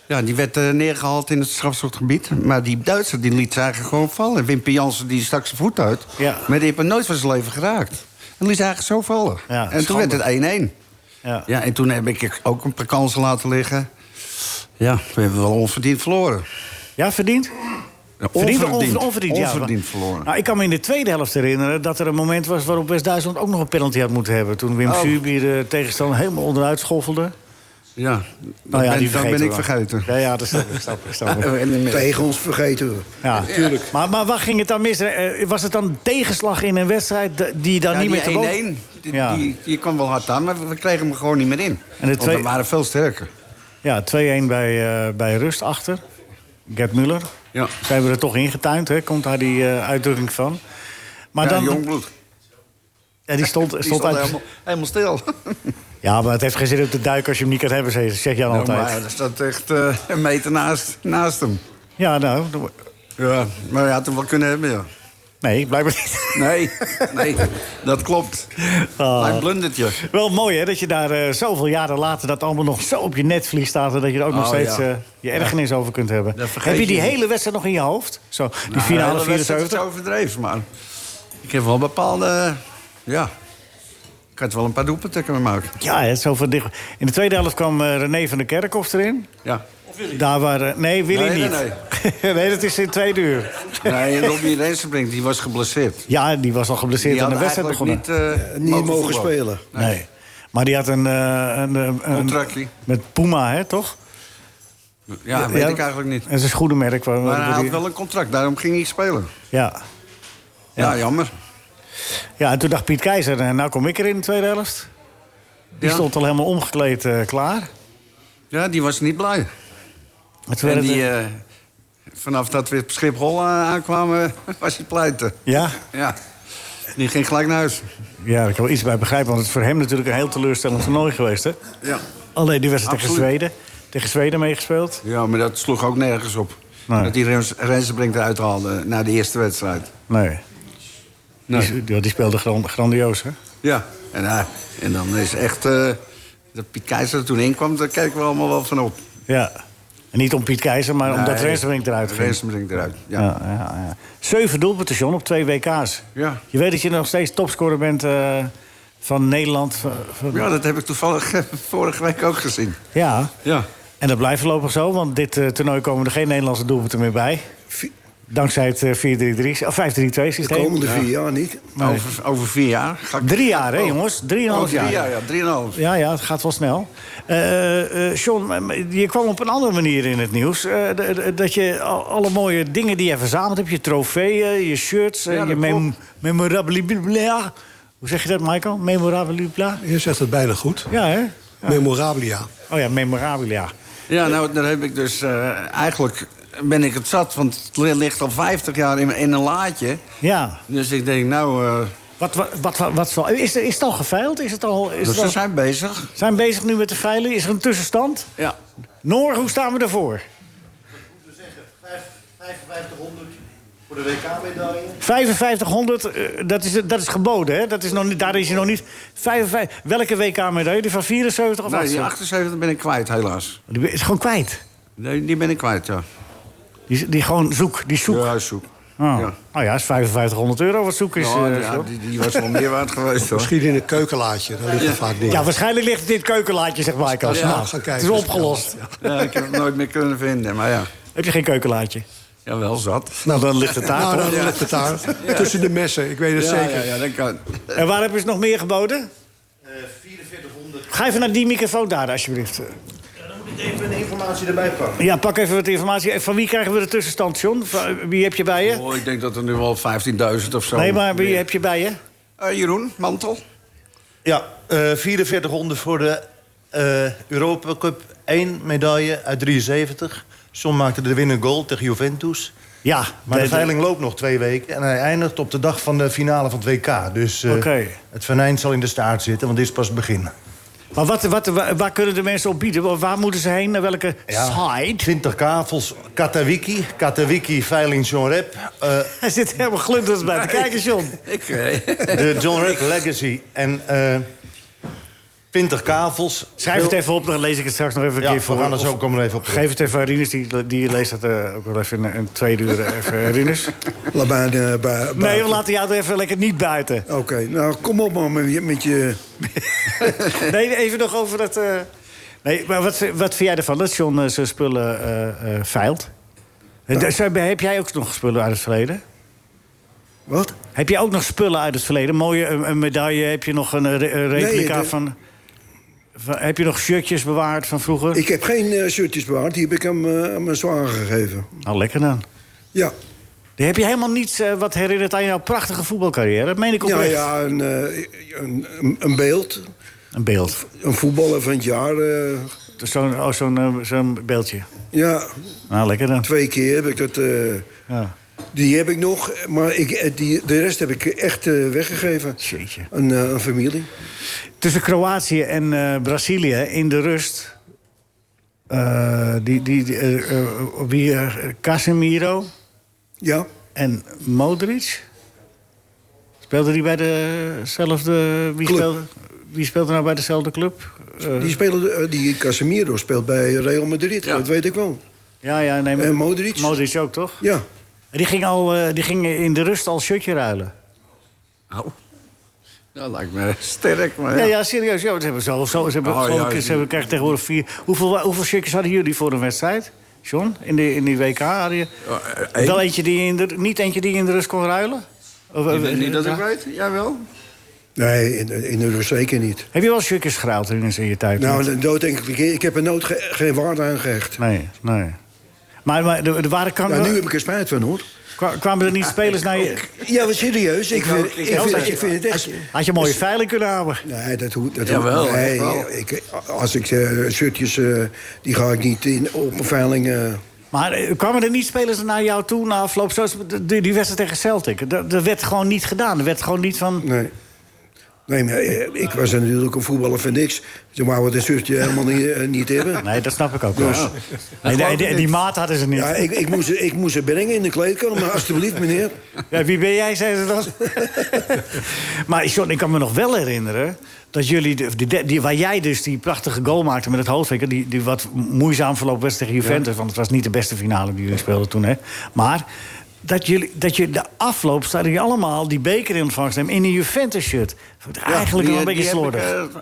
ja, die werd eh, neergehaald in het strafschopgebied. Maar die Duitser die liet ze eigenlijk gewoon vallen. Wimpy Jansen die stak zijn voet uit. Ja. Maar die heeft hem nooit van zijn leven geraakt. En liet ze eigenlijk zo vallen. Ja, en toen schande. werd het 1-1. Ja. Ja, en toen heb ik ook een paar kansen laten liggen. Ja, we hebben wel onverdiend verloren. Ja, verdiend? Ja, Verdiend of onver- onverdiend? ja. Onverdiend verloren. Nou, ik kan me in de tweede helft herinneren dat er een moment was... waarop West-Duitsland ook nog een penalty had moeten hebben. Toen Wim Oh. Zuurbier de tegenstander helemaal onderuit schoffelde. Ja, Nou ja, dat ben, die dat ben ik vergeten. Ja, ja, dat snap ik. Snap, ik, snap ik. Eh, en- Tegen ons vergeten we. Ja. Natuurlijk. Maar, maar waar ging het dan mis? Eh, Was het dan tegenslag in een wedstrijd d- die dan Ja, niet meer te die boven- 1-1, die, Ja. die, die kwam wel hard aan, maar we kregen hem gewoon niet meer in. En de Want twee- we waren veel sterker. Ja, 2-1 bij, eh, bij Rust achter. Gerd Muller. Ja. Zijn we er toch ingetuind, hè? komt daar die eh, uitdrukking van. Maar Ja, dan, Jongbloed. Die ja, die stond, stond, stond uit, helemaal, helemaal stil. Ja, maar het heeft geen zin om te duiken als je hem niet kan hebben, zeg- zeg Jan Nou, altijd. maar er staat echt eh, een meter naast, naast hem. Ja, nou, doe- Ja, maar hij had hem wel kunnen hebben, ja. nee, blijkbaar niet. Nee, nee, dat klopt. Oh. Hij blundert je. Wel mooi hè, dat je daar eh, zoveel jaren later dat allemaal nog zo op je netvlies staat... en dat je er ook nog Oh, steeds ja. eh, je ergernis over kunt hebben. Dat vergeet Heb je je die niet. hele wedstrijd nog in je hoofd? Zo, die Nou, finale de wedstrijd is 74? overdreven, maar ik heb wel bepaalde... ja, ik had wel een paar doelpunten kunnen maken. Ja, hè, zo van dicht. In de tweede helft kwam eh, René van der Kerkhoff erin. Ja. Daar waren... Nee, Willy Nee, nee, niet. Nee. dat is in tweede uur. Nee, Robbie Rensenbrink, die was geblesseerd. Ja, die was al geblesseerd Die aan had de wedstrijd eigenlijk begonnen. niet, eh, Niet mogen, voetballen. spelen. Nee. Maar die had een... eh, een, eh, een Contractie. Met Puma, hè, toch? Ja, weet ik eigenlijk niet. Het is een schoenenmerk. Waar, Maar hij waar had die- wel een contract, daarom ging hij spelen. ja. Ja, jammer. ja, en toen dacht Piet Keizer, eh, nou kom ik er in de tweede helft. Die Ja. stond al helemaal omgekleed eh, klaar. Ja, die was niet blij. Maar toen En werd het- die, eh, vanaf dat we op Schiphol eh, aankwamen, was hij pleiten. ja, Ja. Die ging gelijk naar huis. ja, daar kan wel iets bij begrijpen. Want het is voor hem natuurlijk een heel teleurstellend toernooi geweest. Hè? Ja. Alleen die wedstrijd tegen Absoluut. Zweden. Tegen Zweden meegespeeld. ja, maar dat sloeg ook nergens op. Nee. Dat die Rens- Rensenbrink eruit haalde na de eerste wedstrijd. Nee. Nee. Die, die- die speelde gran- grandioos, hè? Ja, en, eh, en dan is echt... eh, dat Piet Keizer er toen in kwam, daar kijken we allemaal wel van op. Ja. En niet om Piet Keizer, maar omdat Nee, Rensenbrink eruit ging. Rensenbrink eruit, ja. Ja, ja, ja. Zeven doelpunten, John, op twee WK's. Ja. Je weet dat je nog steeds topscorer bent eh, van Nederland. van- van- Ja, dat heb ik toevallig eh, vorige week ook gezien. ja. Ja. En dat blijft voorlopig zo, want dit eh, toernooi komen er geen Nederlandse doelpunten meer bij. Vi- Dankzij het eh, 4-3-3, of 5-3-2 De systeem. komende vier jaar niet. Over, over vier jaar. Ga ik- Drie jaar, hè, Oh. jongens? Drieënhalf Oh, drie jaar. jaar, ja. Drieënhalf. Ja, ja, het gaat wel snel. Eh eh John, eh, je kwam op een andere manier in het nieuws. Eh, d- d- dat je al- alle mooie dingen die je verzameld hebt... je trofeeën, je shirts, eh, Ja, dat je mem memorabilia... Hoe zeg je dat, Michael? Memorabilia? Je zegt het bijna goed. Ja, hè? Memorabilia. Oh ja, memorabilia. Ja, nou, daar heb ik dus... eh, eigenlijk ben ik het zat, want het ligt al 50 jaar in, in een laadje. Ja. Dus ik denk, nou... eh, Wat, wat, wat, wat, wat zal- is, er, is het al geveild? Is het al, is dus het ze al- zijn bezig. zijn we bezig nu met de veilen? Is er een tussenstand? Ja. Noor, hoe staan we ervoor? voor de WK-medaille. 5500, eh, dat, is, dat is geboden, hè? Dat is nog niet, daar is je nog niet. 55, welke WK-medaille? Die van 74 of Nee, Nou, die 78? 78 ben ik kwijt, helaas. Die is gewoon kwijt. Nee, die ben ik kwijt, ja. Die, is- die gewoon zoek, die zoek. Ja, is zoek. Oh. Ja. oh ja, is 5500 euro wat zoek is. eh, Ja, John. die- Ja, ja, die, die was wel meer waard geweest, hoor. Misschien in een keukenlaadje, daar liggen vaak dingen. waarschijnlijk ligt het in het keukenlaadje, zegt Michael. Ja, Nou, gaan kijken. het is opgelost. Ja, ik heb het nooit meer kunnen vinden, maar ja. Heb je geen keukenlaadje? Ja, wel zat. Nou, dan ligt het daar. Nou, toch? dan ligt het daar. Tussen de messen, ik weet het Ja, zeker. ja, ja, dat kan. En waar hebben ze nog meer geboden? Eh, 4400. Ga even naar die microfoon daar, alsjeblieft. Ja, dan moet ik even de informatie erbij pakken. Ja, pak even wat informatie. Van wie krijgen we de tussenstand, John? Van- eh, Wie heb je bij je? Oh, ik denk dat er nu wel 15.000 of zo... Nee, maar wie heb je bij je? Eh, Jeroen, mantel. Ja, eh 4400 voor de eh Europa Cup. 1 medaille uit 73. John maakte de winnende goal tegen Juventus. Ja, Maar de, de- de- veiling loopt nog twee weken. En hij eindigt op de dag van de finale van het WK. Dus eh, Oké. het venijn zal in de staart zitten, want dit is pas het begin. Maar wat, wat, waar, waar kunnen de mensen op bieden? Waar- Waar moeten ze heen? Naar welke site? 20 kavels, Katawiki. Katawiki, veiling John Rep. eh, Hij zit helemaal glunderend bij te kijken, John. Ik, eh, de John Rep Legacy. En eh 20 kavels. Schrijf het even op, dan lees ik het straks nog even een Ja, keer we voor. gaan er zo Of komen we even op. terug. Geef het even aan Rinus, die, die leest dat eh, ook wel even in een tweede uur. eh, Even, eh, Rinus. Laat mij, eh, bui- buiten. Nee, we laten jou er even lekker niet buiten. Oké, nou kom op man met je... Met je Nee, even nog over dat... eh, Nee, maar wat, wat vind jij ervan dat John eh, zijn spullen eh eh veilt? Eh, daar zijn- Heb jij ook nog spullen uit het verleden? wat? Heb je ook nog spullen uit het verleden? Mooie een, een medaille, heb je nog een, eh, re- een replica Nee, de- van, van- Heb je nog shirtjes bewaard van vroeger? Ik heb geen eh, shirtjes bewaard, die heb ik aan, mijn- aan mijn zwager gegeven. Nou, lekker dan. Ja, Dan heb je helemaal niets eh, wat herinnert aan jouw prachtige voetbalcarrière. Dat meen ik ja, oprecht. ja een, eh, een, een- een beeld. Een beeld. Een voetballer van het jaar. eh, Zo'n oh, zo'n, eh, zo'n beeldje. ja, Nou, lekker dan. twee keer heb ik dat... eh, Ja. die heb ik nog, maar ik, eh, die, de rest heb ik echt eh, weggegeven Jeetje. aan, eh, aan familie. Tussen Kroatië en eh, Brazilië in de rust... eh, die, die, die, eh, eh, wie, eh, Casemiro Ja, en Modric. Speelden die bij dezelfde... Wie, Club. speelde, wie speelde nou bij dezelfde club? Eh, die, spelen, eh, die Casemiro speelt bij Real Madrid, Ja. dat weet ik wel. ja, ja, nee, maar- En Eh, Modric? Modric ook, toch? Ja, Die ging, al, eh, die ging in de rust al shirtje ruilen. Nou, dat lijkt me sterk, maar Ja, ja. ja, serieus. Ja, want ze hebben zo of zo. Ze hebben, Oh, geloof ja, ik, ze die- hebben, krijgen tegenwoordig vier. Hoeveel, hoeveel shirtjes hadden jullie voor een wedstrijd? John, in, de, in die WK hadden je één. wel eentje die je in de, niet eentje die je in de rust kon ruilen? Of, Ik weet eh, niet dat ik ja. weet. Jawel. nee, in, in de rust zeker niet. Heb je wel shirtjes geruild in, in je tijd? Nou, een dood enkele keer. Ik heb er nooit ge- geen waarde aan gehecht. nee, nee. Maar, maar de, de waren kan, Nou, nu heb ik er spijt van, hoor. kwa- kwamen er niet spelers naar je. Ja, maar serieus. Ik, vind, ook, ik ik, ook. vind, ik vind het echt... Dus- Had je een mooie veiling kunnen houden? Nee, dat hoeft dat Jawel, hoeft- nee, jawel. ik, Als ik eh, shirtjes... eh, die ga ik niet in, op een veiling... eh, Maar eh, kwamen er niet spelers naar jou toe na afloop? Zoals de- die, die wedstrijd tegen Celtic. Dat, dat werd gewoon niet gedaan. Er werd gewoon niet van. nee. Nee, maar eh, ik was natuurlijk een voetballer van niks. Ze wou het een zusje helemaal niet, eh, niet hebben. Nee, dat snap ik ook wel. Nee, nee, die, die maat hadden ze niet. Ja, ik, ik, moest, ik moest ze brengen in de kleedkamer, maar alstublieft, meneer. Ja, wie ben jij, zei ze dan. maar John, ik kan me nog wel herinneren... dat jullie, de, die- die, die- waar jij dus die prachtige goal maakte met het hoofdwekker... die, die wat moeizaam verloop was tegen Juventus... want het was niet de beste finale die jullie speelden toen, hè. Maar dat jullie, dat je de afloop staan jullie allemaal die beker in ontvangst nemen... in een Juventus-shirt. Vond ik Eigenlijk die, wel een eh, beetje die heb slordig. ik, eh,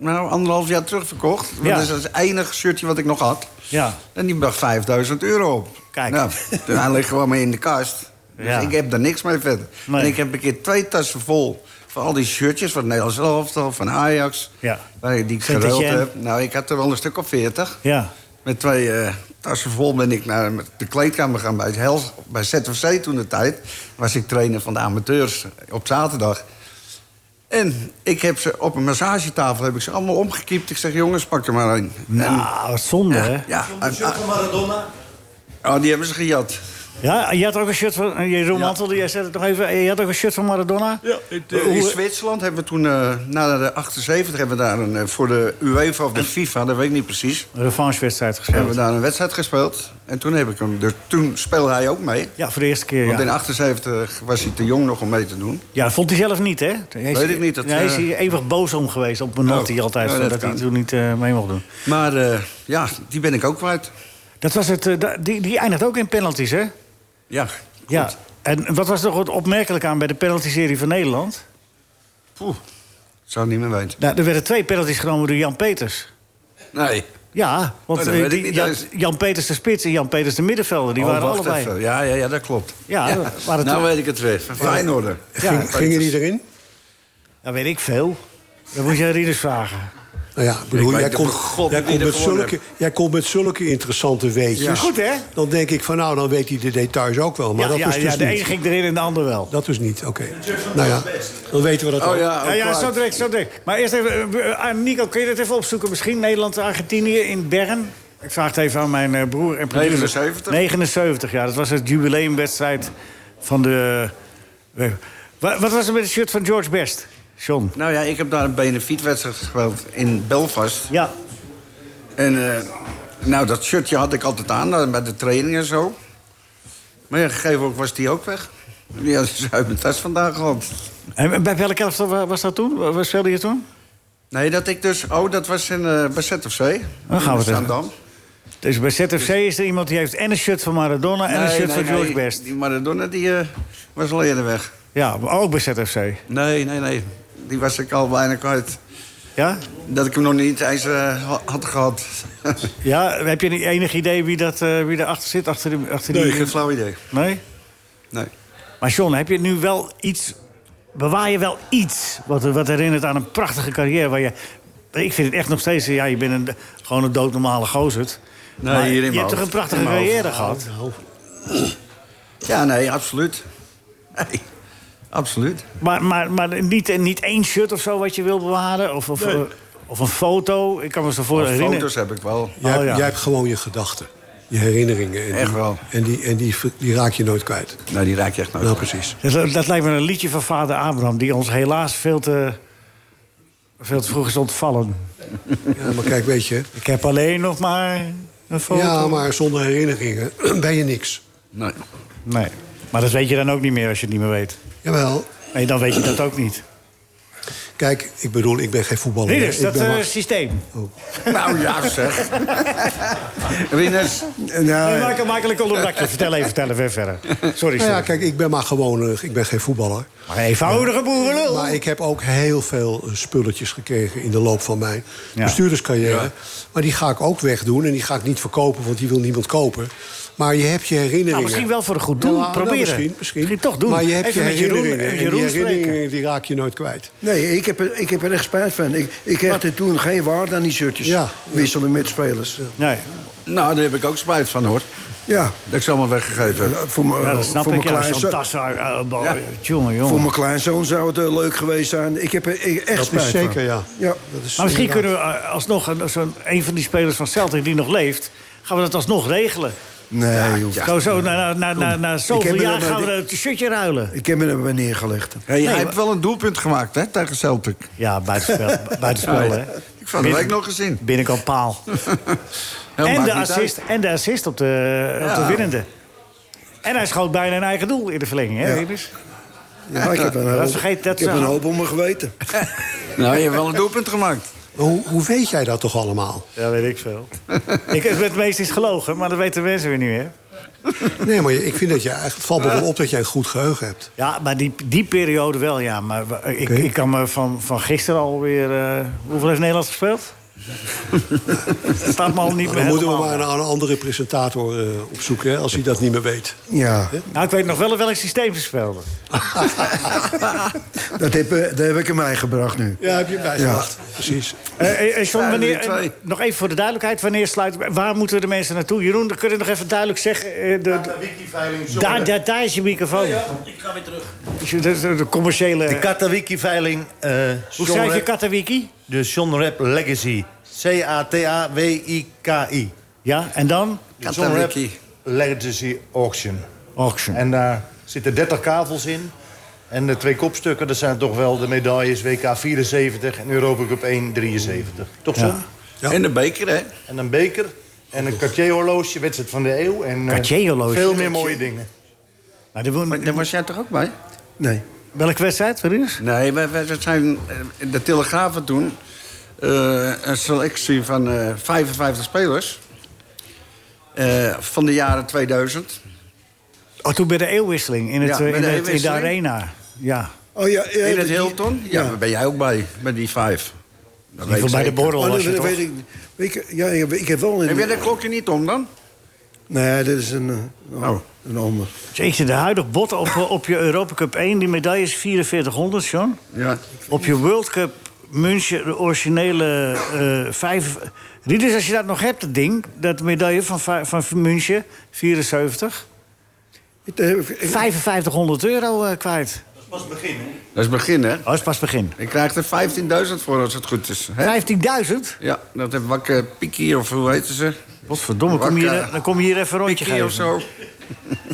nou, anderhalf jaar terugverkocht. Want Ja. Dat is het enige shirtje wat ik nog had. Ja. En die bracht 5000 euro op. Kijk. Nou, toen hij ligt gewoon mee in de kast. Dus Ja. ik heb daar niks mee verder. Nee. En ik heb een keer twee tassen vol van al die shirtjes... van het Nederlands elftal, van Ajax, Ja. waar ik die ik Saint-Étienne. geruild heb. Nou, ik had er wel een stuk of veertig. Ja. Met twee eh, tassen vol ben ik naar de kleedkamer gaan bij, het Hel, bij ZFC toen de tijd. Was ik trainer van de amateurs op zaterdag. En ik heb ze op een massagetafel heb ik ze allemaal omgekiept. Ik zeg, jongens, pak er maar een. Nou, wat zonde, En, hè? ja, ja, Een shirt van Maradona. oh, die hebben ze gejat. Ja, je had ook een shirt van... Jeroen Mantel, jij zei het nog even... Je had ook een shirt van Maradona? Ja, eh, in Zwitserland hebben we toen, eh, na de 78, hebben we daar een, eh, voor de UEFA of de FIFA, dat weet ik niet precies, Een revanche-wedstrijd hebben we gespeeld. daar een wedstrijd gespeeld. En toen heb ik hem, dus toen speelde hij ook mee. Ja, voor de eerste keer, Want ja. in 78 was hij te jong nog om mee te doen. Ja, dat vond hij zelf niet, hè? Hij is- Weet ik niet, dat, Nee, hij is eh, hier eeuwig boos om geweest op Menotti Oh, altijd. ja, dat dat hij kan. toen niet eh, mee mocht doen. Maar eh, ja, die ben ik ook kwijt. Dat was het, eh, da- die, die eindigt ook in penalties, hè? Ja. Ja. En wat was er nog wat opmerkelijk aan bij de penalty-serie van Nederland? Poeh. Zou ik niet meer weten. Nou, er werden twee penalties genomen door Jan Peters. Nee. Ja, want Oh, dat eh, weet ik die- niet, Jan, dat is- Jan Peters de spits en Jan Peters de middenvelder... die Oh, waren wacht allebei... even. Ja, ja, ja, dat klopt. Ja, waren nou twee- weet ik het weer. Van Feyenoord. Ja, Ging, gingen die erin? dat weet ik veel. Dat moet je Rieders vragen. Nou ja, ik bedoel, weet jij de komt, god jij, die komt er met gewonnen zulke, jij komt met zulke interessante weetjes. Ja. Goed, hè? Dan denk ik van nou, dan weet hij de details ook wel. Maar ja, dat ja, is dus ja, de niet. een ging erin en de ander wel. Dat is niet, oké. Nou ja, dan weten we dat ook. Oh ja, Ja, ja, ook zo kwijt. direct, zo direct. Maar eerst even, eh, eh, aan Nico, kun je dat even opzoeken? Misschien Nederland-Argentinië in Bern? Ik vraag het even aan mijn eh, broer en producer. 79? 79, ja. Dat was het jubileumwedstrijd van de... eh, wa- wat was er met het shirt van George Best, John? Nou ja, ik heb daar een benefietwedstrijd gespeeld in Belfast. Ja, En eh, nou, dat shirtje had ik altijd aan eh, bij de training en zo. Maar ja, op een gegeven moment was die ook weg. Die had ze uit mijn tas vandaan gehad. en bij welke elftal wa- was dat toen? Wa- Waar speelde je toen? Nee, dat ik dus... Oh, dat was in, eh bij ZFC. Dan gaan we het In Amsterdam. Dus bij ZFC is er iemand die heeft en een shirt van Maradona... en een Nee, shirt nee, van nee, George Best. Die Maradona, die eh, was al eerder weg. Ja, maar ook bij ZFC. Nee, nee, nee. Die was ik al bijna kwijt. Ja? Dat ik hem nog niet eens eh, ha- had gehad. Ja, heb je niet enig idee wie, dat, eh wie daarachter zit? Achter die, achter nee, die... geen eh, flauw idee. Nee? Nee. Maar John, heb je nu wel iets... Bewaar je wel iets wat, wat herinnert aan een prachtige carrière waar je... Ik vind het echt nog steeds... Ja, je bent een, gewoon een doodnormale gozerd. Nee, Maar hier in je mijn hebt hoofd. toch een prachtige In mijn hoofd. carrière gehad? Ja, nee, absoluut. Nee, absoluut. Maar, maar, maar niet, niet één shirt of zo wat je wil bewaren? Of, of, eh, of een foto? Ik kan me zo voor herinneren. Foto's heb ik wel. Jij, Oh ja. jij hebt gewoon je gedachten, je herinneringen. En Echt die, wel. En, die, en die, ver- die raak je nooit kwijt. Nou, die raak je echt nooit. Nou, precies. Dat, dat lijkt me een liedje van vader Abraham... die ons helaas veel te, veel te vroeg is ontvallen. Ja, maar kijk, weet je... Ik heb alleen nog maar een foto. Ja, maar zonder herinneringen ben je niks. Nee. Nee. Maar dat weet je dan ook niet meer als je het niet meer weet. Jawel. Nee, dan weet je dat ook niet. Kijk, ik bedoel, ik ben geen voetballer. Dit hè. is ik dat ben eh, maar- systeem. Nou ja, zeg. Rinus. Nee, Nou, Michael, Michael, ik onderbrak je. Vertel even, vertel even verder. Sorry, Nou ja, sorry. kijk, ik ben maar gewoon... eh, ik ben geen voetballer. Maar een eenvoudige boerenlul. Maar ik heb ook heel veel eh, spulletjes gekregen in de loop van mijn Ja. bestuurderscarrière. Maar die ga ik ook wegdoen en die ga ik niet verkopen, want die wil niemand kopen. Maar je hebt je herinneringen. Nou, misschien wel voor een goed doel. nou, Proberen. misschien, misschien. Misschien toch doen. Maar je hebt Even je met Jeroen- herinneringen. en Jeroen die spreken. herinneringen die raak je nooit kwijt. Nee, ik heb, er- ik heb er echt spijt van. Ik, ik had er toen geen waarde aan die shirtjes. Ja. Wisselen met spelers. Nee, nou, daar heb ik ook spijt van, hoor. Ja, Dat ik ze allemaal weggegeven heb. voor mijn ja, dat Oh, voor snap mijn ik. Ja, zo'n kleinzo- tas. eh, eh, bo- Ja. Jongen, jongen. voor mijn kleinzoon zou het eh, leuk geweest zijn. Ik heb er ik- echt Dat spijt is van. zeker, ja. Ja. Dat is Maar misschien inderdaad- eh, kunnen we eh, alsnog een, zo'n- een van die spelers van Celtic die nog leeft... gaan we dat alsnog regelen. Nee, joh. Zo, zo, na, na, na, na, na zoveel heb er jaar nog gaan we nooit- het shirtje ruilen. Ik heb me er maar neergelegd. Hey, hij heeft wel een doelpunt gemaakt hè, tegen Celtic. Ja, buitenspel, buitenspel hè. Ik vond het week nog eens in. Binnenkant paal. En de, assist, en de assist op de, op de Ja. winnende. En hij schoot bijna een eigen doel in de verlenging, hè, Rinus? Ja, maar ik heb een Dat hoop, vergeet dat ik heb ze- een hoop om me geweten. Nou, je hebt wel een doelpunt gemaakt. Maar Hoe, hoe weet jij dat toch allemaal? Ja, weet ik veel. ik, het meest is gelogen, maar dat weten mensen weer niet meer. Nee, maar ik vind dat je eigenlijk... Het valt me wel op dat jij een goed geheugen hebt. Ja, maar die, die periode wel, ja. Maar we- ik, ik kan me van, van gisteren alweer... eh, hoeveel heeft Nederland gespeeld? Staat me al niet meer Dan moeten we helemaal. maar een, een andere presentator eh, opzoeken, hè, als hij dat niet meer weet. Ja, Nou, ik weet nog wel in welk systeem ze speelden. dat heb, eh, daar heb ik hem gebracht nu. Ja, heb je bijgebracht. Precies. Eh, eh, eh, John, Ja, wanneer, die twee. eh, nog even voor de duidelijkheid, wanneer sluit, waar moeten de mensen naartoe? Jeroen, dan kun je nog even duidelijk zeggen. eh, de, de- daar, daar, daar is je microfoon. Ik ga weer terug. Dus je- De, de, de commerciële. De Katawiki-veiling. eh, hoe John schrijf je Rap- Katawiki? De John Rap Legacy. C-A-T-A-W-I-K-I. Ja, en dan? De John Rap Katawiki. Legacy Auction. Auction. En daar zitten 30 kavels in. En de twee kopstukken, dat zijn toch wel de medailles WK 74 en Europa Cup 1 73. Toch zo? En de beker, hè? En een beker en een Cartier-horloge, wedstrijd van de eeuw. En eh, Cartier-horloge? veel meer mooie dingen. Maar de, Maar daar was jij toch ook bij? Nee. welke wedstrijd? Waar is? Nee, wij, wij- dat zijn eh, de Telegrafen toen eh, een selectie van eh, 55 spelers eh, van de jaren 2000. Oh, toen bij de eeuwwisseling in, het, eh, Ja, bij in, de het- in de eeuwwisseling. arena. Ja. Oh, ja, ja, In dat- het Hilton? Ja, Ja. Oh, daar ben jij ook bij, bij die vijf. Dat In ieder geval bij de zeker. borrel Oh, was dat, je dat toch? weet ik niet. Ik- Ja, ik heb, ik heb wel een... Heb jij dat klokje niet om dan? Nee, dat is een, eh, Oh. een ander. Jeetje, de huidige bot op, eh, op je Europa Cup 1, die medaille is 4400, John. Ja. Op je World Cup München, de originele eh vijf... Rieders, als je dat nog hebt, dat ding, dat medaille van, va- van München, 74. Ik- eh, ik- ik- 5500 euro eh, kwijt. Dat is pas het begin, hè? Dat is begin, hè? Oh, dat is pas begin. Ik krijg er 15.000 voor als het goed is. Hè? 15.000? Ja, dat heeft Wakker Pikkie of hoe heet ze? Wat verdomme, kom je hier, eh, Wakker dan kom je hier even een rondje Pikkie of geven.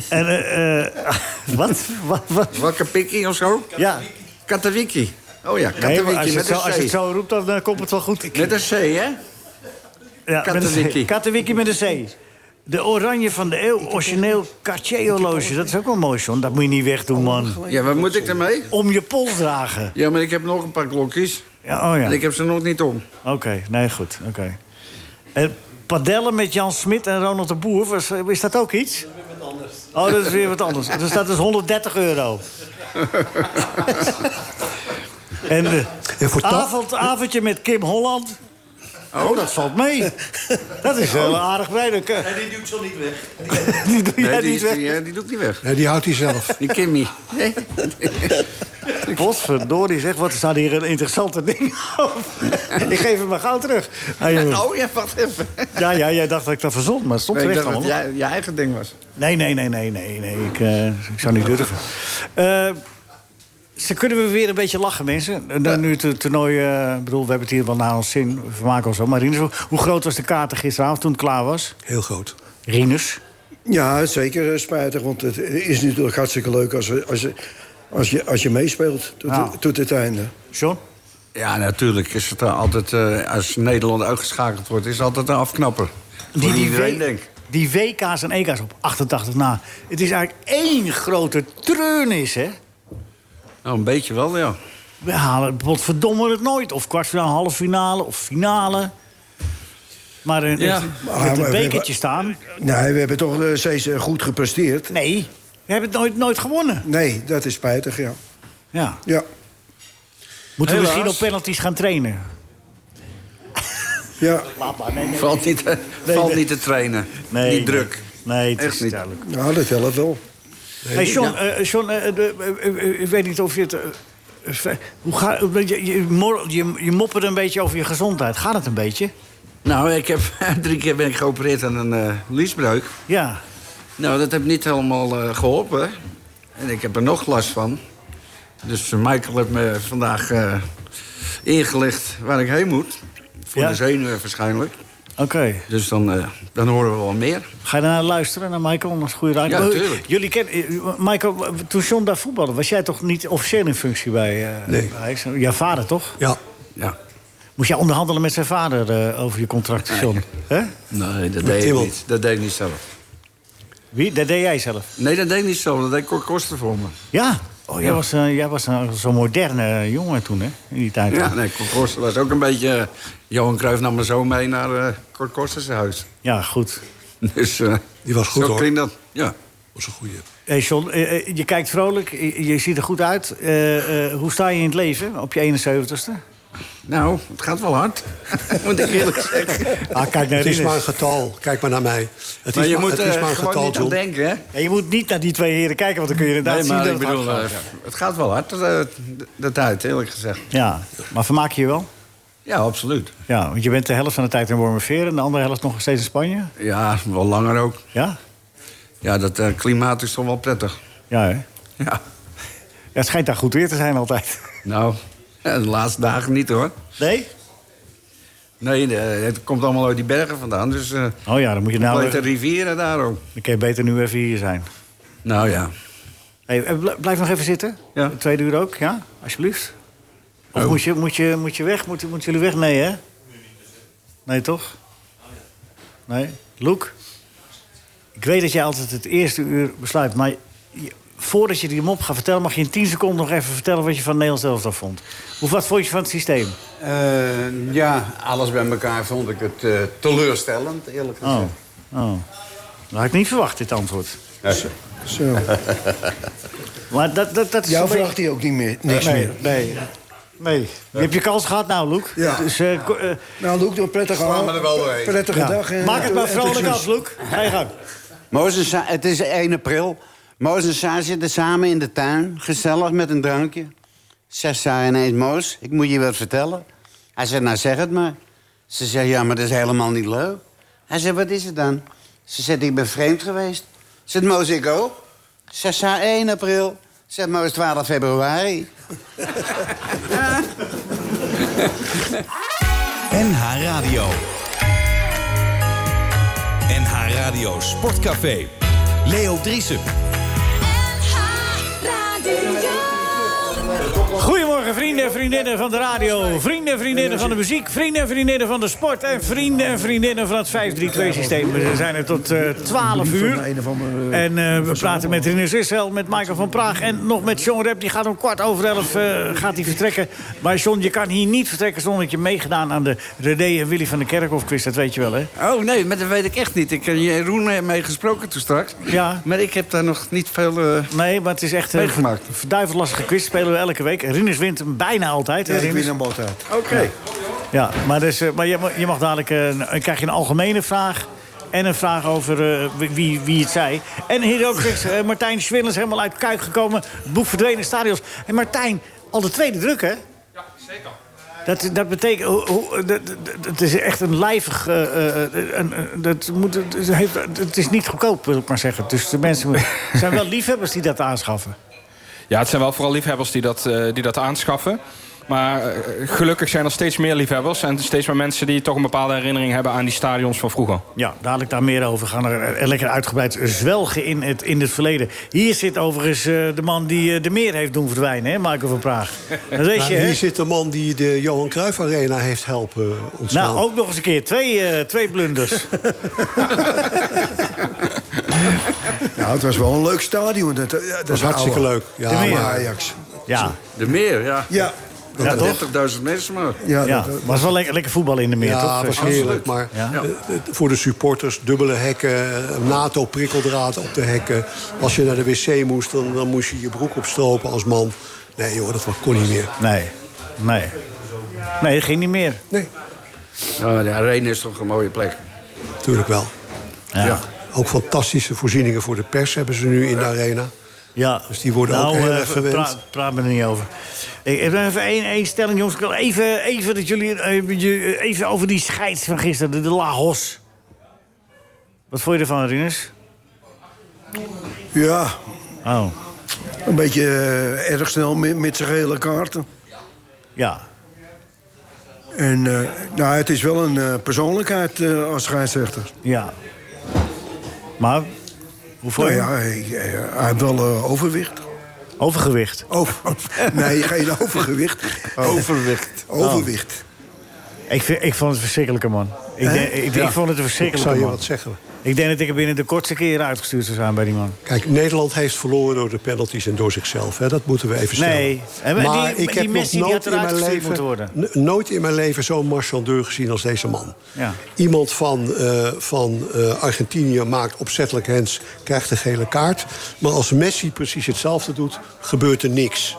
zo. En, eh, eh, wat? wat, wat? Wakker Pikkie of zo? Ja, Katawiki. Oh ja, nee, maar als, Katawiki je het met zo, als je een het C. zo roept, dan eh, komt het wel goed. Met een C, hè? Ja, met een C. Katawiki. Katawiki met een C. De oranje van de eeuw, origineel Cartier-horloge. Dat is ook wel mooi, John. Dat moet je niet wegdoen, man. Ja, wat moet ik ermee? Om je pols dragen. Ja, maar ik heb nog een paar klokjes. Ja, oh ja. En ik Oké, heb ze nog niet om. nee, goed. Oké. Eh, padellen met Jan Smit en Ronald de Boer, was, is dat ook iets? Oh, dat is weer wat anders. Dus dat is 130 euro. en eh, En voor ta- avond, avondje met Kim Holland. Oh, dat valt mee. Dat is wel aardig bij. Dan kun- Nee, die duwt zo niet weg. Die doe jij Nee, die, niet weg. die, eh, die doe ik niet weg. Nee, die houdt hij zelf. Die Kimmy. Nee. Potverdorie zeg, wat staat hier een interessante ding over. ik geef hem maar gauw terug. Ah, joh. Oh ja, wacht even. ja, ja, jij dacht dat ik dat verzond, maar het stond Nee, ik terecht dacht dat allemaal. het jij- je eigen ding was. Nee, nee, nee, nee, nee, nee. Ik, eh, ik zou niet durven. Eh, ze kunnen we weer een beetje lachen, mensen. En Dan nu het eh, toernooi... eh, ik bedoel, we hebben het hier wel naar ons zin. We vermaken ons wel. Maar Rinus, hoe- hoe groot was de kater gisteravond toen het klaar was? Heel groot. Rinus? Ja, zeker eh, spijtig, want het is natuurlijk hartstikke leuk als, we- als, je- als, je, als je meespeelt tot, Ah. Nou. tot het einde. John? Ja, natuurlijk is het eh, altijd, eh, als Nederland uitgeschakeld wordt, is het altijd een afknapper. Voor iedereen, W- denk ik. Die WK's en EK's op 88 na. Het is eigenlijk één grote treurnis, hè? Nou, een beetje wel, ja. We halen potverdomme het nooit. Of kwartfinale, halve finale of finale. Maar eh, Ja. het- Ah, met een maar we bekertje hebben- staan. Nee, we hebben toch eh, steeds eh, goed gepresteerd. Nee, we hebben het nooit, nooit gewonnen. Nee, dat is spijtig, ja. Ja. Ja, Moeten we Helaas. misschien op penalties gaan trainen? ja. Valt niet, te- valt nee. niet te trainen. niet druk. Nee, het Echt is niet. duidelijk. Nou, dat helpt wel. Hey, John, eh, John eh, de- eh, eh, eh, ik weet niet of je het... eh, eh, ver- hoe ga, je, je, mor- je, je moppert een beetje over je gezondheid. Gaat het een beetje? Nou, ik heb, drie keer ben ik geopereerd aan een eh liesbreuk. Ja. Nou, dat heeft niet helemaal eh, geholpen. En ik heb er nog last van. Dus eh, Michael heeft me vandaag eh, ingelicht waar ik heen moet. Voor Ja. de zenuwen waarschijnlijk. Oké. Dus dan, eh, dan horen we wel meer. Ga je daarna luisteren naar Michael? Dat is een goede raad. Ja, Maar, tuurlijk. Jullie kennen, eh, Michael, toen John daar voetbalde, was jij toch niet officieel in functie bij eh Nee. Ajax? Jouw vader toch? Ja, Ja. Moest jij onderhandelen met zijn vader eh, over je contract, John? Hè? Nee, dat deed ik Timmel. niet. Dat deed ik niet zelf. Wie? Dat deed jij zelf. Nee, dat deed ik niet zelf. Dat deed Cor Koster voor me. Ja. Oh, jij was, eh, jij was een- zo'n moderne jongen toen, hè? In die tijd. Ja, nee, Cor Koster was ook een beetje... eh, Johan Cruijff nam me zo mee naar eh Cor Koster's huis. Ja, goed. Dus eh, Die was goed, zo hoor. klinkt dat. Ja. was een goede. Hey John, eh, eh, je kijkt vrolijk, je, je ziet er goed uit. Eh, eh, hoe sta je in het leven op je 71ste? Nou, het gaat wel hard. Moet ik eerlijk zeggen. Ah, kijk naar Het is Rinus. maar een getal. Kijk maar naar mij. Het Maar is je maar, eh, moet het is er maar een gewoon getal, niet aan John. denken, hè? Ja, je moet niet naar die twee heren kijken, want dan kun je inderdaad Nee, zien maar dat ik het bedoel, hard gaat. eh, het gaat wel hard, dat, dat uit, eerlijk gezegd. Ja, maar vermaak je je wel? Ja, absoluut. Ja, want je bent de helft van de tijd in Wormerveer... en de andere helft nog steeds in Spanje. Ja, wel langer ook. Ja? Ja, dat eh, klimaat is toch wel prettig. Ja, hè? Ja. Het schijnt daar goed weer te zijn altijd. Nou, eh, de laatste dagen niet, hoor. Nee? Nee, eh, het komt allemaal uit die bergen vandaan, dus... eh Oh ja, dan moet je nou... complete weer- rivieren daar ook. Dan kun je beter nu even hier zijn. Nou ja. Hey, eh, bl- blijf nog even zitten. Ja. De tweede uur ook, ja? Alsjeblieft. Of Oh. moet, je, moet, je, moet je weg? Moeten moeten jullie weg? Nee, hè? Nee, toch? Nee? Loek? Ik weet dat jij altijd het eerste uur besluit, maar... je- Voordat je die mop gaat vertellen, mag je in 10 seconden nog even vertellen wat je van Nederland zelf vond. Hoe wat vond je van het systeem? Eh, ja, alles bij elkaar vond ik het eh, teleurstellend, eerlijk gezegd. Oh. oh. Dat had ik niet verwacht, dit antwoord. Zo. Maar dat, dat, dat is Jou een beetje- vraagt hij ook niet meer, niks nee, meer. Nee, nee. Je hebt je kans gehad nou, Loek. Ja. Dus, eh, ko- eh, Nou, Loek, doe een prettige, Slaan we er wel doorheen. prettige ja. dag. en- Maak het maar en vrolijk succes. af, Loek. Ga je gang. Mozes, Sa- het is 1 april. Moos en Sa zitten samen in de tuin, gezellig met een drankje. Zegt Sa ineens, Moos, ik moet je wat vertellen. Hij zegt, nou zeg het maar. Ze zegt, ja, maar dat is helemaal niet leuk. Hij zegt, wat is het dan? Ze zegt, ik ben vreemd geweest. Zegt Moos, ik ook. Zegt Sa 1 april. Zegt Moos, 12 februari. NH Radio. NH Radio Sportcafé. Leo Driesen. Goedemorgen, vrienden en vriendinnen van de radio. Vrienden en vriendinnen van de muziek. Vrienden en vriendinnen van de sport. En vrienden en vriendinnen van het 532-systeem. We zijn er tot eh 12 uur. een of andere- En eh, we praten met Rinus Israël, met Michael van Praag... en nog met John Rep. Die gaat om kwart over elf eh, gaat hij vertrekken. Maar John, je kan hier niet vertrekken zonder dat je meegedaan... aan de René en Willy van de Kerkhof quiz. Dat weet je wel, hè? Oh nee, maar dat weet ik echt niet. Ik heb Jeroen mee gesproken toen straks. Ja. Maar ik heb daar nog niet veel... eh, Nee, maar het is echt een Meegemaakt. verduiveld lastige quiz. Spelen we elke week. Rinus wint hem bijna altijd. hè, Ja, ik Rinus? win hem altijd. Oké. Ja, maar, dus, eh, maar je, ma- je mag dadelijk eh, een- dan krijg je een algemene vraag. En een vraag over eh, wie- wie, wie het zei. En hier ook is eh, Martijn Schwillens helemaal uit Kuik gekomen. Boek verdwenen stadions. En Martijn, al de tweede druk, hè? Ja, zeker. Dat, dat betekent, hoe- hoe- dat, dat- dat is echt een lijvig. eh, eh, eh, een- een- dat moet, het, heeft, het is niet goedkoop, wil ik maar zeggen. Dus de mensen moeten- er zijn wel liefhebbers die dat aanschaffen. Ja, het zijn wel vooral liefhebbers die dat, eh, die dat aanschaffen. Maar eh, gelukkig zijn er steeds meer liefhebbers... en steeds meer mensen die toch een bepaalde herinnering hebben... aan die stadions van vroeger. Ja, dadelijk daar meer over. We gaan er eh, lekker uitgebreid zwelgen in het, in het verleden. Hier zit overigens eh, de man die eh, de meer heeft doen verdwijnen, hè, Michael van Praag. Dat weet je, Nou, hè? hier zit de man die de Johan Cruijff Arena heeft helpen ontstaan. Nou, ook nog eens een keer. Twee, eh, twee blunders. Nou, het was wel een leuk stadion. Dat, ja, dat Dat is is hartstikke oude. leuk. De Ja, meer. Ja, maar Ajax. Ja, De meer, ja. Ja, ja toch? 30.000 mensen maar. ja, Ja, dat- was wel lekker, lekker voetbal in de meer, ja, toch? was Eh, heerlijk. Maar Ja. eh, eh, voor de supporters, dubbele hekken, NATO-prikkeldraad op de hekken. Als je naar de wc moest, dan, dan moest je je broek opstropen als man. Nee joh, dat kon niet meer. Nee, nee. Nee, dat ging niet meer. Nee, Nou, de arena is toch een mooie plek. natuurlijk wel. Ja. Ja. Ook fantastische voorzieningen voor de pers hebben ze nu in de arena. Dus die worden nou, ook heel eh, erg gewend. Praat, praat me er niet over. Ik heb nog even één, één stelling, jongens. Ik wil even, even, dat jullie, eh, je- even over die scheids van gisteren, de, de Lahos. Wat vond je ervan, Rinus? ja, Oh, een beetje eh, erg snel met, met zijn gele kaarten. ja. En eh, nou, het is wel een eh, persoonlijkheid eh, als scheidsrechter. Ja. Maar, hoeveel? Oh Nou ja, hij, hij- hij heeft wel eh, overwicht. Overgewicht? Over, nee, geen overgewicht. Overwicht. Nou. Overwicht. Ik, vind- ik vond het verschrikkelijke man. Ik, Hè? denk- ik, Ja. ik vond het een Ik verschrikkelijke zal je man. wat zeggen. Ik denk dat ik er binnen de kortste keer uitgestuurd zou zijn bij die man. Kijk, Nederland heeft verloren door de penalties en door zichzelf. Hè. Dat moeten we even stellen. Nee, en die- die Messi, die had eruit gestuurd moeten worden. n- nooit in mijn leven zo'n marchandeur gezien als deze man. Ja. Iemand van, eh, van eh, Argentinië maakt opzettelijk hands, krijgt een gele kaart. Maar als Messi precies hetzelfde doet, gebeurt er niks.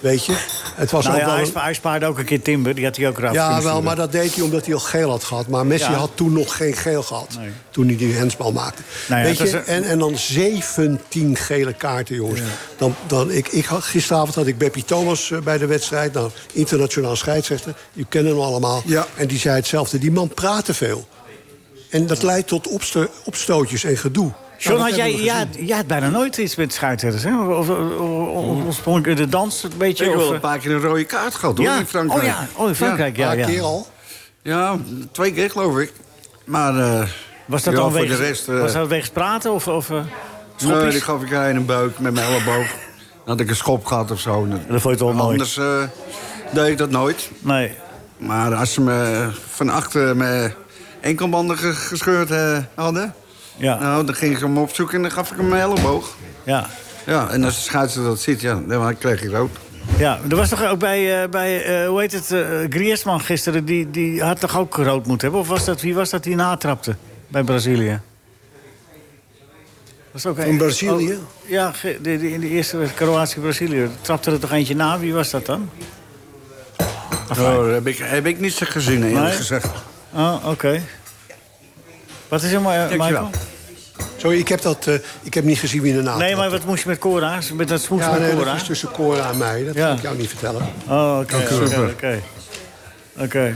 Weet je? Het was nou ook ja, wel hij, een- spa- hij spaarde ook een keer Timber, die had hij ook eraf ja, wel, kunnen sturen. maar dat deed hij omdat hij al geel had gehad. Maar Messi Ja. had toen nog geen geel gehad. Toen hij die hensbal maakte. Nou ja, Weet het je, was een- en, en dan 17 gele kaarten, jongens. Dan, dan, ik, ik had, gisteravond had ik Beppie Thomas eh, bij de wedstrijd. Nou, internationaal scheidsrechter. Je kent hem allemaal. En die zei hetzelfde. Die man praatte veel. En dat leidt tot opsto- opstootjes en gedoe. John, Nou, had dat jij, hebben we ja, gezien. jij had bijna nooit iets met scheidsrechters, hè? Of, of, of, of sprong ik in de dans een beetje? Ik heb of, wel eh, een paar keer een rode kaart gehad, hoor, Ja. in Frankrijk. Oh ja, oh, in Frankrijk, ja, Een ja. paar keer al. Ja, twee keer geloof ik. Maar eh, Was dat ja, dan voor wegens, de rest... eh, was dat wegens praten of, of eh, nee, schoppies? ik gaf ik haar in een buik met mijn elleboog. Dan had ik een schop gehad of zo. Dat vond je het wel mooi. Anders eh, deed ik dat nooit. Nee. Maar als ze me van achter mijn enkelbanden ge- gescheurd eh, hadden... Ja. Nou, dan ging ik hem opzoeken en dan gaf ik hem mijn elleboog. Ja. Ja, en als de scheidsrechter dat ziet, ja, dan kreeg ik rood. Ja, er was toch ook bij, eh, bij eh, hoe heet het, eh, Griezmann gisteren... Die, die had toch ook rood moeten hebben? Of was dat, wie was dat die natrapte bij Brazilië? Was ook In Brazilië? Oh, ja, ge- de- de- in de eerste wedstrijd, Kroatië-Brazilië. Trapte er toch eentje na? Wie was dat dan? Oh, daar heb ik, heb ik niet zo gezien, eerlijk Nee? gezegd. Oh, oké. Wat is er, Ma- eh, Michael? Sorry, ik heb, dat, eh, ik heb niet gezien wie ernaast Nee, maar wat moest je met Cora? Met dat smoes Ja, met nee, Cora? dat is tussen Cora en mij. Dat kan ik jou niet vertellen. Oh, oké. Dank u oké, wel. Oké. Oké.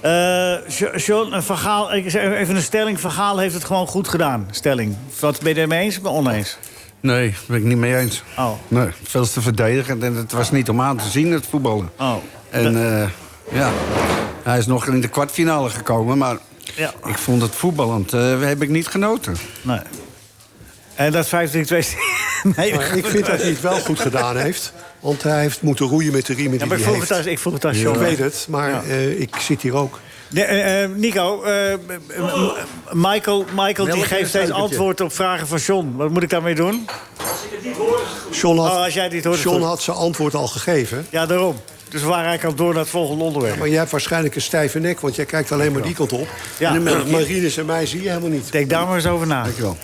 Eh, Jo- John, eh, Van Gaal, ik zeg even een stelling. Van Gaal heeft het gewoon goed gedaan. Stelling. Wat ben je ermee eens of oneens? Nee, daar ben ik niet mee eens. Oh. Nee, veel te verdedigend en het was niet om aan te zien, het voetballen. Oh. En eh, ja, hij is nog in de kwartfinale gekomen, maar Ja. ik vond het voetballend, eh, heb ik niet genoten. Nee. En dat 15-2... nee, Maar ik vind dat hij het wel goed gedaan heeft. Want hij heeft moeten roeien met de riemen Ja, die maar ik hij vroeg heeft. het als- ik vroeg het als John. Ik weet het, maar eh, ik zit hier ook. Nee, eh, eh, Nico, eh, eh, Michael, Michael die Melk in een geeft steeds suikertje. antwoord op vragen van John. Wat moet ik daarmee doen? John had, Oh, als jij dit hoort, is John goed. had zijn antwoord al gegeven. Ja, daarom. Dus waar eigenlijk al door naar het volgende onderwerp. Maar jij hebt waarschijnlijk een stijve nek, want jij kijkt alleen maar die kant op. Ja. En de Marines en mij zie je helemaal niet. Denk daar maar eens over na. Dankjewel.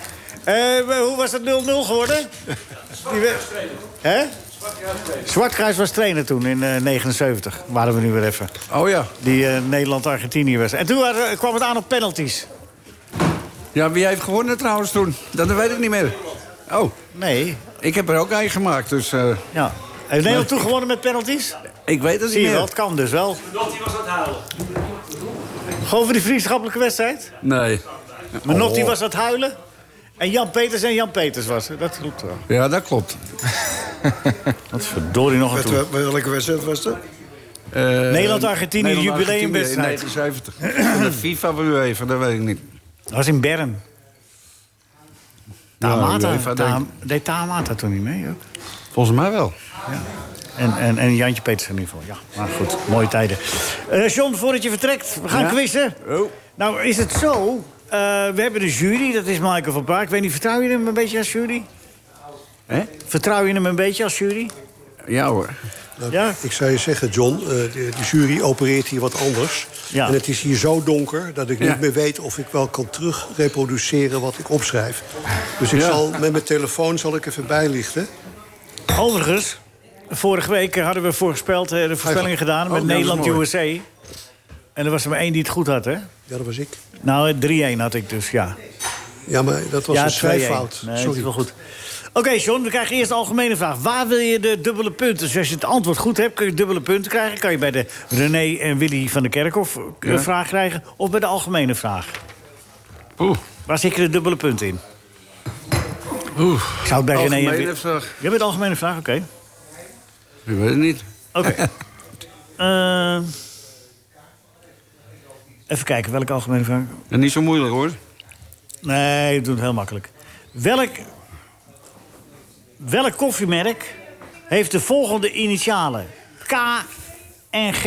Eh, maar hoe was dat 0-0 geworden? Die we- Hè? Zwartkruis was trainer toen in eh, 79. Waren we nu weer even. Oh ja. Die eh, Nederland-Argentinië was. En toen waren- kwam het aan op penalties. Ja, wie heeft gewonnen trouwens toen? Dat weet ik niet meer. Oh, nee. Ik heb er ook een gemaakt, dus... eh, Ja. Heeft Nederland Maar- toen gewonnen met penalties? Ik weet het Zie niet je meer. wel, het kan dus wel. Gewoon voor die vriendschappelijke wedstrijd? Nee. Menotti Oh. was aan het huilen. En Jan Peters en Jan Peters was het. Dat klopt wel. Ja, dat klopt. Wat verdorie nog Wat- wat- eh, Welke wedstrijd was dat? Eh, Nederland-Argentinië, jubileumwedstrijd. In 79. Van de FIFA van UEFA, dat weet ik niet. Dat was in Bern. Tamata, UEFA Ta- denk deed Tamata toen niet mee ook? Volgens mij wel. En, en, en Jantje Peters in ieder geval, ja. Maar goed, mooie tijden. Eh John, voordat je vertrekt, we gaan Ja? quizzen. Oh. Nou, is het zo... eh, we hebben een jury, dat is Michael van Praag. Ik weet niet, vertrouw je hem een beetje als jury? Hè? Vertrouw je hem een beetje als jury? Ja hoor. Ja? Ik zou je zeggen, John, eh, de, de jury opereert hier wat anders. Ja. En het is hier zo donker dat ik Ja. niet meer weet of ik wel kan terugreproduceren wat ik opschrijf. Dus ik Ja. zal met mijn telefoon zal ik even bijlichten. Overigens, vorige week eh, hadden we voorspeld, eh, de voorspellingen gedaan... Oh, dat met is mooi. Nederland-USA. En er was er maar één die het goed had, hè? Ja, dat was ik. Nou, eh, 3-1 had ik dus, ja. Ja, maar dat was een 2-1. schrijffout. Nee, het Sorry. is wel goed. Oké, John, we krijgen eerst de algemene vraag. Waar wil je de dubbele punten? Dus als je het antwoord goed hebt, kun je dubbele punten krijgen. Kan je bij de René en Willy van der Kerkhof eh, Ja. vraag krijgen... of bij de algemene vraag. Oeh. Waar zit je de dubbele punten in? Oeh. Ik zou het bij René en Algemene Willy... vraag. Jij bent de algemene vraag, oké. Ik weet het niet. Oké. Eh, Even kijken, welke algemene vraag? En niet zo moeilijk hoor. Nee, ik doe het heel makkelijk. Welk, welk koffiemerk heeft de volgende initialen? K en G.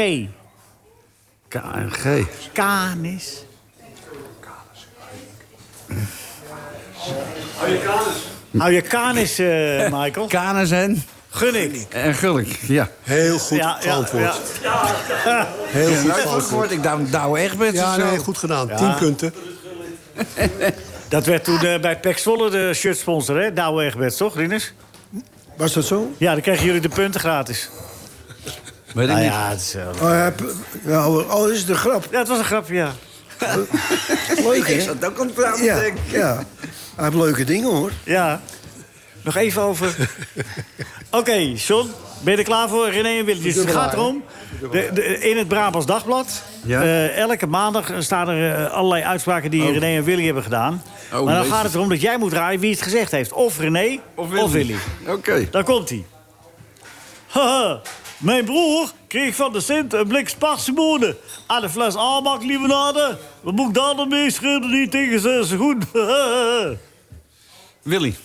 KNG. Canis. Hou je kanis. Hou je kanis, eh, Michael. Kanis en? Gunnik. En Gulk, ja. Heel goed Ja, ja, antwoord. ja. Heel Ja, goed nou, antwoord. antwoord. Ik dou- douw echt met Ja, ze zo. nee, goed gedaan. Ja. 10 punten. Dat werd toen eh, bij Pek Zwolle de shirtsponsor, hè? Douwe Egberts, toch, Rinus? Was dat zo? Ja, dan kregen jullie de punten gratis. Weet ik Nou niet. ja, het is, eh, Oh, ja, p- nou, oh, is het een grap. ja, het was een grapje, ja. Ik Leuk, hè? zat ook aan het praten, Ja, denk ik. ja. Hij heeft leuke dingen, hoor. Ja. Nog even over. Oké, John, ben je er klaar voor? René en Willem. Dus het gaat erom. De, de- in het Brabants Dagblad. Ja. eh, elke maandag eh, staan er eh, allerlei uitspraken die René en Willy hebben gedaan. Oh, maar dan jezus. gaat het erom dat jij moet raaien wie het gezegd heeft. Of René of Willy. Oké. Daar komt hij. Haha, mijn broer kreeg van de Sint een blik sparsemonen. En een fles aanbaklievenade. Wat moet ik daar dan mee schudden die tegen zijn goed? Willy.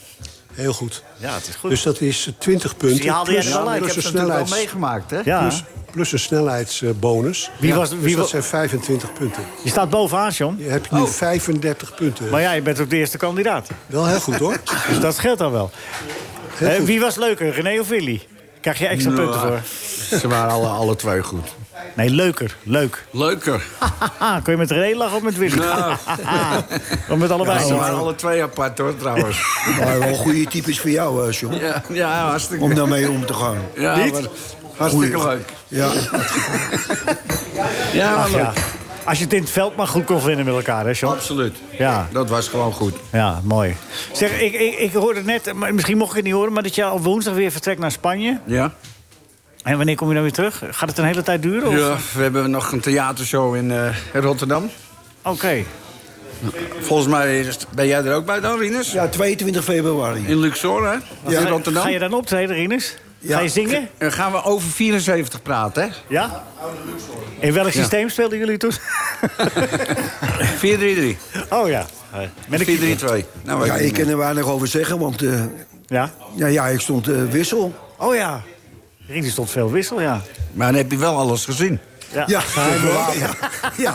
Heel goed. ja, het is goed. Dus dat is eh, 20 punten. Dus die haalde jij plus, er wel uit. plus Ik een heb het natuurlijk wel snelheids, meegemaakt, hè? ja. plus, plus een snelheidsbonus. Wie was- dus wie dat wa- zijn 25 punten. Je staat bovenaan, John. Je hebt nu Oh. 35 punten. Maar ja, je bent ook de eerste kandidaat. Wel heel goed hoor. Dus dat scheelt dan wel. Heel Eh, goed. wie was leuker, René of Willy? Krijg je extra Nou. punten voor? Ze waren alle, alle twee goed. Nee, leuker. Leuk. Leuker. Haha, kun je met René lachen of met Willy? Nou. of met allebei? Ze niet? waren alle twee apart, hoor, trouwens. Maar wel goede types voor jou, eh, John. ja, ja, hartstikke Om daarmee om te gaan. Ja, Niet? maar hartstikke Goeie. leuk. Ja, Ja, maar Ach leuk. ja. Als je het in het veld maar goed kon vinden met elkaar, hè, John? Absoluut. Ja. Dat was gewoon goed. Ja, mooi. Zeg, ik, ik, ik hoorde net, maar misschien mocht ik het niet horen... maar dat je op woensdag weer vertrekt naar Spanje. Ja. En wanneer kom je dan weer terug? Gaat het een hele tijd duren? Of? ja. We hebben nog een theatershow in eh, Rotterdam. Oké. Volgens mij is- ben jij er ook bij dan, Rinus? ja 22 februari. In Luxor, hè? In Rotterdam. Ga je dan optreden, Rinus? Ja. Ga je zingen? En gaan we over 74 praten, hè? Ja? In welk systeem speelden jullie toen? 4-3-3. Oh ja. Met een keeper. 4-3-2. Nou, Ja, weet ik ik kan niet er weinig over zeggen, want eh, Ja. ja, ja, ik stond eh, wissel. Oh ja. Rinus stond veel wissel, ja. meer. Maar dan heb je wel alles gezien. Ja. Ja, ja, ja,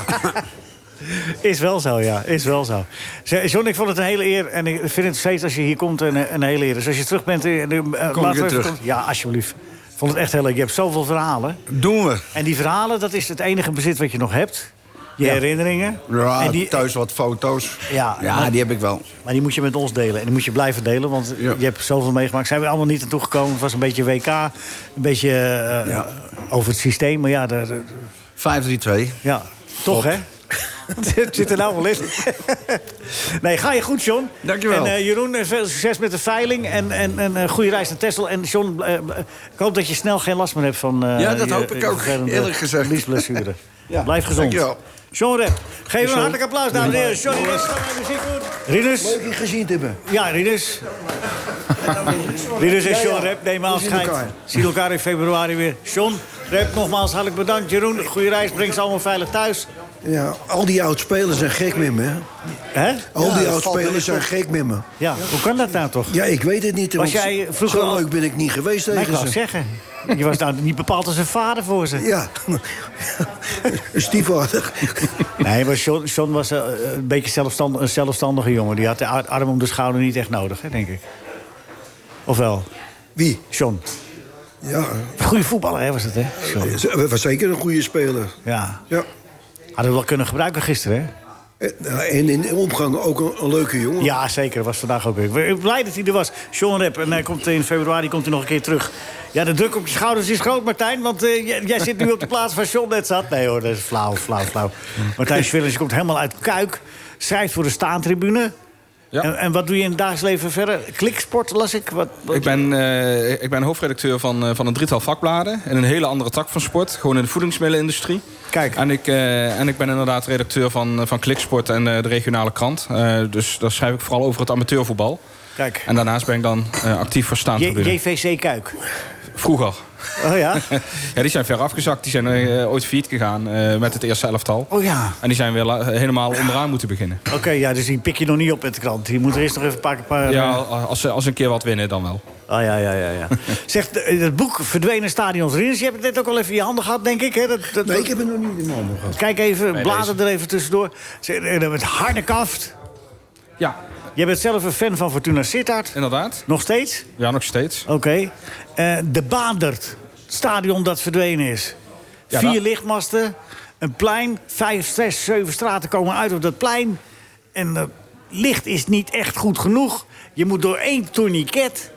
Is wel zo, ja. Is wel zo. Zeg, John, ik vond het een hele eer. En ik vind het steeds als je hier komt een, een hele eer. Dus als je terug bent... eh, eh, laten we weer even terug. komen- Ja, alsjeblieft. Ik vond het echt heel leuk. Je hebt zoveel verhalen. Doen we. En die verhalen, dat is het enige bezit wat je nog hebt. Je herinneringen. Ja, en die, thuis wat foto's. Ja, maar- die heb ik wel. Maar die moet je met ons delen. En die moet je blijven delen, want Ja. je hebt zoveel meegemaakt. Zijn we allemaal niet aan toegekomen. Het was een beetje WK, een beetje eh, Ja. over het systeem. Maar ja, daar, daar- 5-3-2. ja. toch hè? het zit er nou wel in. nee, ga je goed, John. Dankjewel. En eh, Jeroen, eh, veel succes met de veiling. En, en, en eh, goede reis naar Texel. En John, eh, eh, ik hoop dat je snel geen last meer hebt van... eh, Ja, dat je- hoop ik je ook, vervelende eerlijk gezegd. liesblessure. Blijf gezond. Dankjewel. John Rep, geef hem een hartelijk applaus, dames en heren. Johnny Rep, ga naar muziek doen. Rinus. Leuk je gezien te hebben. Ja, Rinus. Rinus en John Rep nemen afscheid. elkaar. Zien elkaar in februari weer. John, Rep, nogmaals hartelijk bedankt. Jeroen, goede reis. Breng ze allemaal veilig thuis. Ja, al die oud-spelers zijn gek met me. hè. Hè? Al die dat valt oud-spelers zijn gek met me. Ja, hoe kan dat nou toch? Ja, ik weet het niet. Was want jij vroeger zo al- leuk ben ik niet geweest Maar ik tegen wou ze. zeggen. Je was nou niet bepaald als een vader voor ze. Ja, stiefvader. Nee, maar John, John was eh, een beetje zelfstand, een zelfstandige jongen. Die had de ar- arm om de schouder niet echt nodig, hè, denk ik. Of wel? Wie? John. Ja, Goede voetballer hè, was het, hè? John. ze- was zeker een goede speler. Ja. Ja. Hadden we wel kunnen gebruiken gisteren, hè? En Eh, en in omgang ook een, een leuke jongen. Ja, zeker. Was vandaag ook weer. Ik ben blij dat hij er was. Sean Rep. En hij komt in februari komt hij nog een keer terug. Ja, de druk op je schouders is groot, Martijn. Want eh, jij, jij zit nu op de plaats waar Sean net zat. Nee hoor, dat is flauw, flauw, flauw. Martijn Swillens komt helemaal uit Kuik. Schrijft voor de staantribune. Ja. En, en wat doe je in het dagelijks leven verder? Kliksport las ik. Wat, wat- Ik ben, eh, ik ben hoofdredacteur van, eh, van een drietal vakbladen. En een hele andere tak van sport. Gewoon in de voedingsmiddelenindustrie. Kijk. En ik, eh, en ik ben inderdaad redacteur van, eh, van Kliksport en eh, de regionale krant. Eh, dus daar schrijf ik vooral over het amateurvoetbal. Kijk. En daarnaast ben ik dan eh, actief voor J- staantribune. JVC Kuik. Vroeger. Oh ja? ja, die zijn ver afgezakt. Die zijn eh, ooit failliet gegaan eh, met het eerste elftal. Oh ja. En die zijn weer la- helemaal onderaan moeten beginnen. Oké, ja, dus die pik je nog niet op met de krant. Die moet er eerst nog even pakken. Paar, Ja, als ze als ze een keer wat winnen, dan wel. Ah, ja, ja, ja. ja. Zeg, eh, dat boek Verdwenen Stadions Rins. Je hebt het net ook al even in je handen gehad, denk ik. Hè? Dat, dat, nee, ik heb het nog niet in mijn handen gehad. Kijk even, Nee, blader er even tussendoor. Zeg, eh, dan Met harde kaft. Ja. Jij bent zelf een fan van Fortuna Sittard. Inderdaad. Nog steeds? Ja, nog steeds. Oké. Eh, de Baandert. Stadion dat verdwenen is. Ja, nou- Vier dat- lichtmasten. Een plein. Vijf, zes, zeven straten komen uit op dat plein. En eh, licht is niet echt goed genoeg. Je moet door één tourniquet.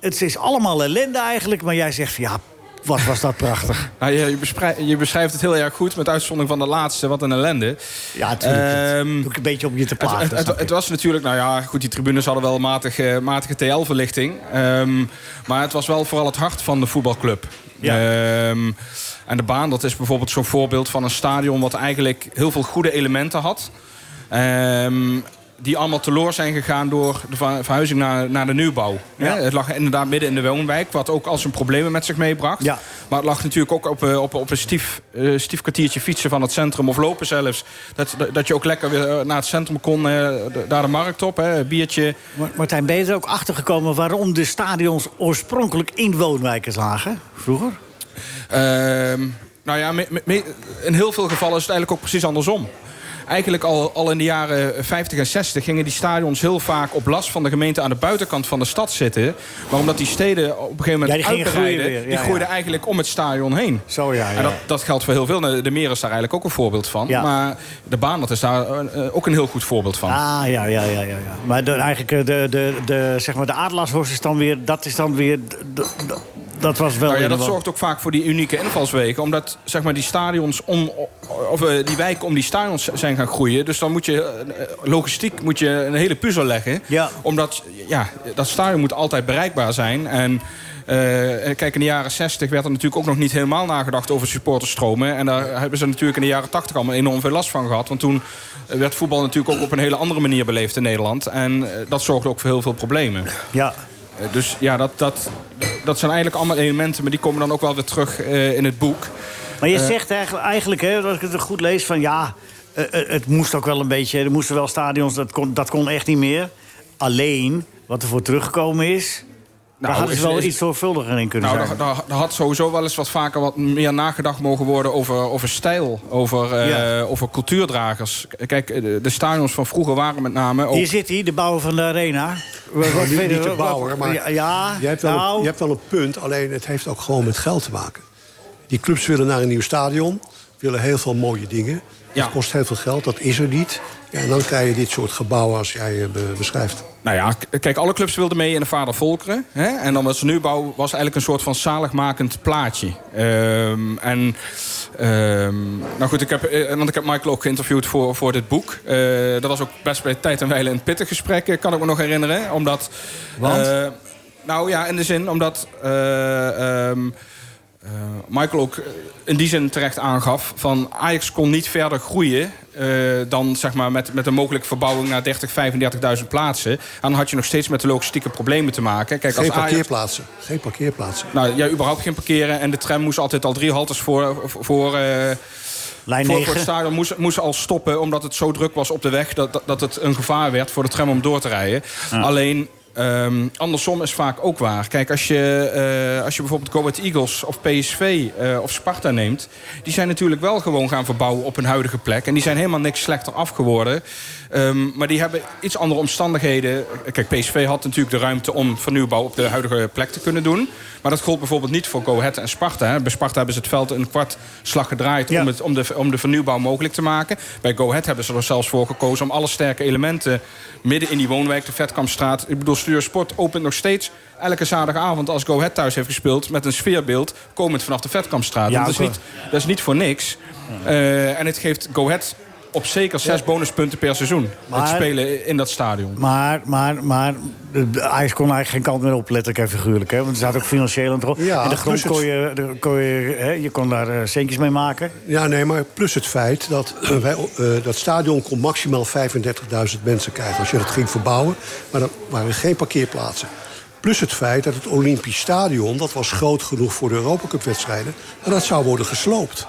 Het is allemaal ellende eigenlijk. Maar jij zegt, van, ja, wat was dat prachtig. Nou, je, je, besprij- je beschrijft het heel erg goed, met uitzondering van de laatste. Wat een ellende. Ja, tuurlijk. Ehm, Doe ik een beetje om je te plaatsen. het, het, het was natuurlijk, nou ja, goed, die tribunes hadden wel matige, matige TL-verlichting. maar het was wel vooral het hart van de voetbalclub. Ehm, en de baan, dat is bijvoorbeeld zo'n voorbeeld van een stadion... wat eigenlijk heel veel goede elementen had. Ehm, die allemaal teloor zijn gegaan door de ver- verhuizing naar, naar de nieuwbouw. Hè, Het lag inderdaad midden in de woonwijk, wat ook al zijn problemen met zich meebracht. Maar het lag natuurlijk ook op, eh, op, op een stief, eh, stief kwartiertje fietsen van het centrum of lopen zelfs. Dat, dat- dat je ook lekker weer eh, naar het centrum kon, eh, d- daar de markt op, hè, biertje. Maar- Martijn, ben je er ook achter gekomen waarom de stadions oorspronkelijk in woonwijken lagen? Vroeger? Ehm, nou ja, me- me- me- in heel veel gevallen is het eigenlijk ook precies andersom. Eigenlijk al, al in de jaren 50 en 60 gingen die stadions heel vaak op last van de gemeente aan de buitenkant van de stad zitten. Maar omdat die steden op een gegeven Ja, moment die gingen uitbreiden, groeien weer. Ja, die ja. groeiden eigenlijk om het stadion heen. Zo Ah, ja, ja. En dat, dat geldt voor heel veel. De meer is daar eigenlijk ook een voorbeeld van. Ja. Maar de baan dat is daar eh, eh, ook een heel goed voorbeeld van. Ah, ja, ja, ja, ja. ja. Maar de, eigenlijk eh, de, de, de, zeg maar de Adelaarshorst is dan weer... Dat is dan weer... d- d- d- dat was wel... Nou ja, in dat de- zorgt ook vaak voor die unieke invalsweken. Omdat zeg maar, die stadions om, of eh, die wijken om die stadions zijn gaan groeien. Dus dan moet je eh, logistiek moet je een hele puzzel leggen. Omdat ja, dat stadion moet altijd bereikbaar zijn. En eh, kijk, in de jaren 60 werd er natuurlijk ook nog niet helemaal nagedacht over supporterstromen. En daar hebben ze natuurlijk in de jaren 80 allemaal enorm veel last van gehad. Want toen werd voetbal natuurlijk ook op een hele andere manier beleefd in Nederland. En eh, dat zorgde ook voor heel veel problemen. Ja. Eh, Dus ja, dat, dat, dat zijn eigenlijk allemaal elementen, maar die komen dan ook wel weer terug eh, in het boek. Maar je Eh, zegt eigenlijk, eigenlijk hè, als ik het goed lees, van ja... eh, eh, het moest ook wel een beetje... Er moesten wel stadions, dat kon, dat kon echt niet meer. Alleen, wat er voor teruggekomen is... daar hadden ze Nou, is- wel is- iets zorgvuldiger in kunnen nou, zijn. Daar, daar- daar had sowieso wel eens wat vaker wat meer nagedacht mogen worden over, over stijl, over, eh, over cultuurdragers. K- Kijk, eh, de, de stadions van vroeger waren met name ook... Hier zit hij, de bouwer van de arena. Wat- wat nu vind je- niet te wat- bouwen, maar Ja, ja, je, hebt wel nou. een, je hebt wel een punt. Alleen het heeft ook gewoon met geld te maken. Die clubs willen naar een nieuw stadion. Willen heel veel mooie dingen. Dat kost heel veel geld. Dat is er niet. Ja, en dan krijg je dit soort gebouwen als jij eh, be- beschrijft. Nou ja, k- kijk, alle clubs wilden mee in de Vader Volkeren. Hè? En dan was nieuwbouw was eigenlijk een soort van zaligmakend plaatje. Ehm, en, ehm, nou goed, ik heb, eh, want ik heb Michael ook geïnterviewd voor, voor dit boek. Eh, dat was ook best bij tijd en wijle een pittig gesprek, eh, kan ik me nog herinneren. Omdat, Want? eh, nou ja, in de zin omdat... eh, ehm, eh, Michael ook eh, in die zin terecht aangaf... van Ajax kon niet verder groeien eh, dan zeg maar, met, met een mogelijke verbouwing... naar 30, 35.000 plaatsen. En dan had je nog steeds met de logistieke problemen te maken. Kijk, als Geen Ajax, parkeerplaatsen. Geen parkeerplaatsen. nou, ja, überhaupt geen parkeren. En de tram moest altijd al drie haltes voor... voor eh, Lijn voor, 9. voor het stadion moest, moest al stoppen omdat het zo druk was op de weg... dat, dat, dat het een gevaar werd voor de tram om door te rijden. Alleen, ehm, andersom is vaak ook waar. Kijk, als je, eh, als je bijvoorbeeld Go Ahead Eagles of PSV eh, of Sparta neemt... die zijn natuurlijk wel gewoon gaan verbouwen op hun huidige plek. En die zijn helemaal niks slechter af geworden. Ehm, maar die hebben iets andere omstandigheden. Kijk, PSV had natuurlijk de ruimte om vernieuwbouw op de huidige plek te kunnen doen. Maar dat gold bijvoorbeeld niet voor Go Ahead en Sparta. Hè. Bij Sparta hebben ze het veld een kwart slag gedraaid om, het, om, de, om de vernieuwbouw mogelijk te maken. Bij Go Ahead hebben ze er zelfs voor gekozen om alle sterke elementen midden in die woonwijk, de Vetkampstraat. Ik bedoel, Stuur Sport opent nog steeds elke zaterdagavond als Go Ahead thuis heeft gespeeld met een sfeerbeeld komend vanaf de Vetkampstraat. Ja, En dat, is oké. niet, dat is niet voor niks. Eh, en het geeft Go Ahead op zeker zes bonuspunten per seizoen. Maar- Het spelen in dat stadion. Maar, maar, maar de- de Ajax kon eigenlijk geen kant meer op, letterlijk en figuurlijk. Hè? Want er zat ook financieel aan het rol. Ja, en de grond plus het- kon je, de- kon je, hè, je kon daar eh, centjes mee maken. Ja, nee, maar plus het feit dat eh, wij, eh, dat stadion kon maximaal 35.000 mensen krijgen. Als je dat ging verbouwen, maar er waren geen parkeerplaatsen. Plus het feit dat het Olympisch Stadion, dat was groot genoeg voor de Europacupwedstrijden, en dat zou worden gesloopt.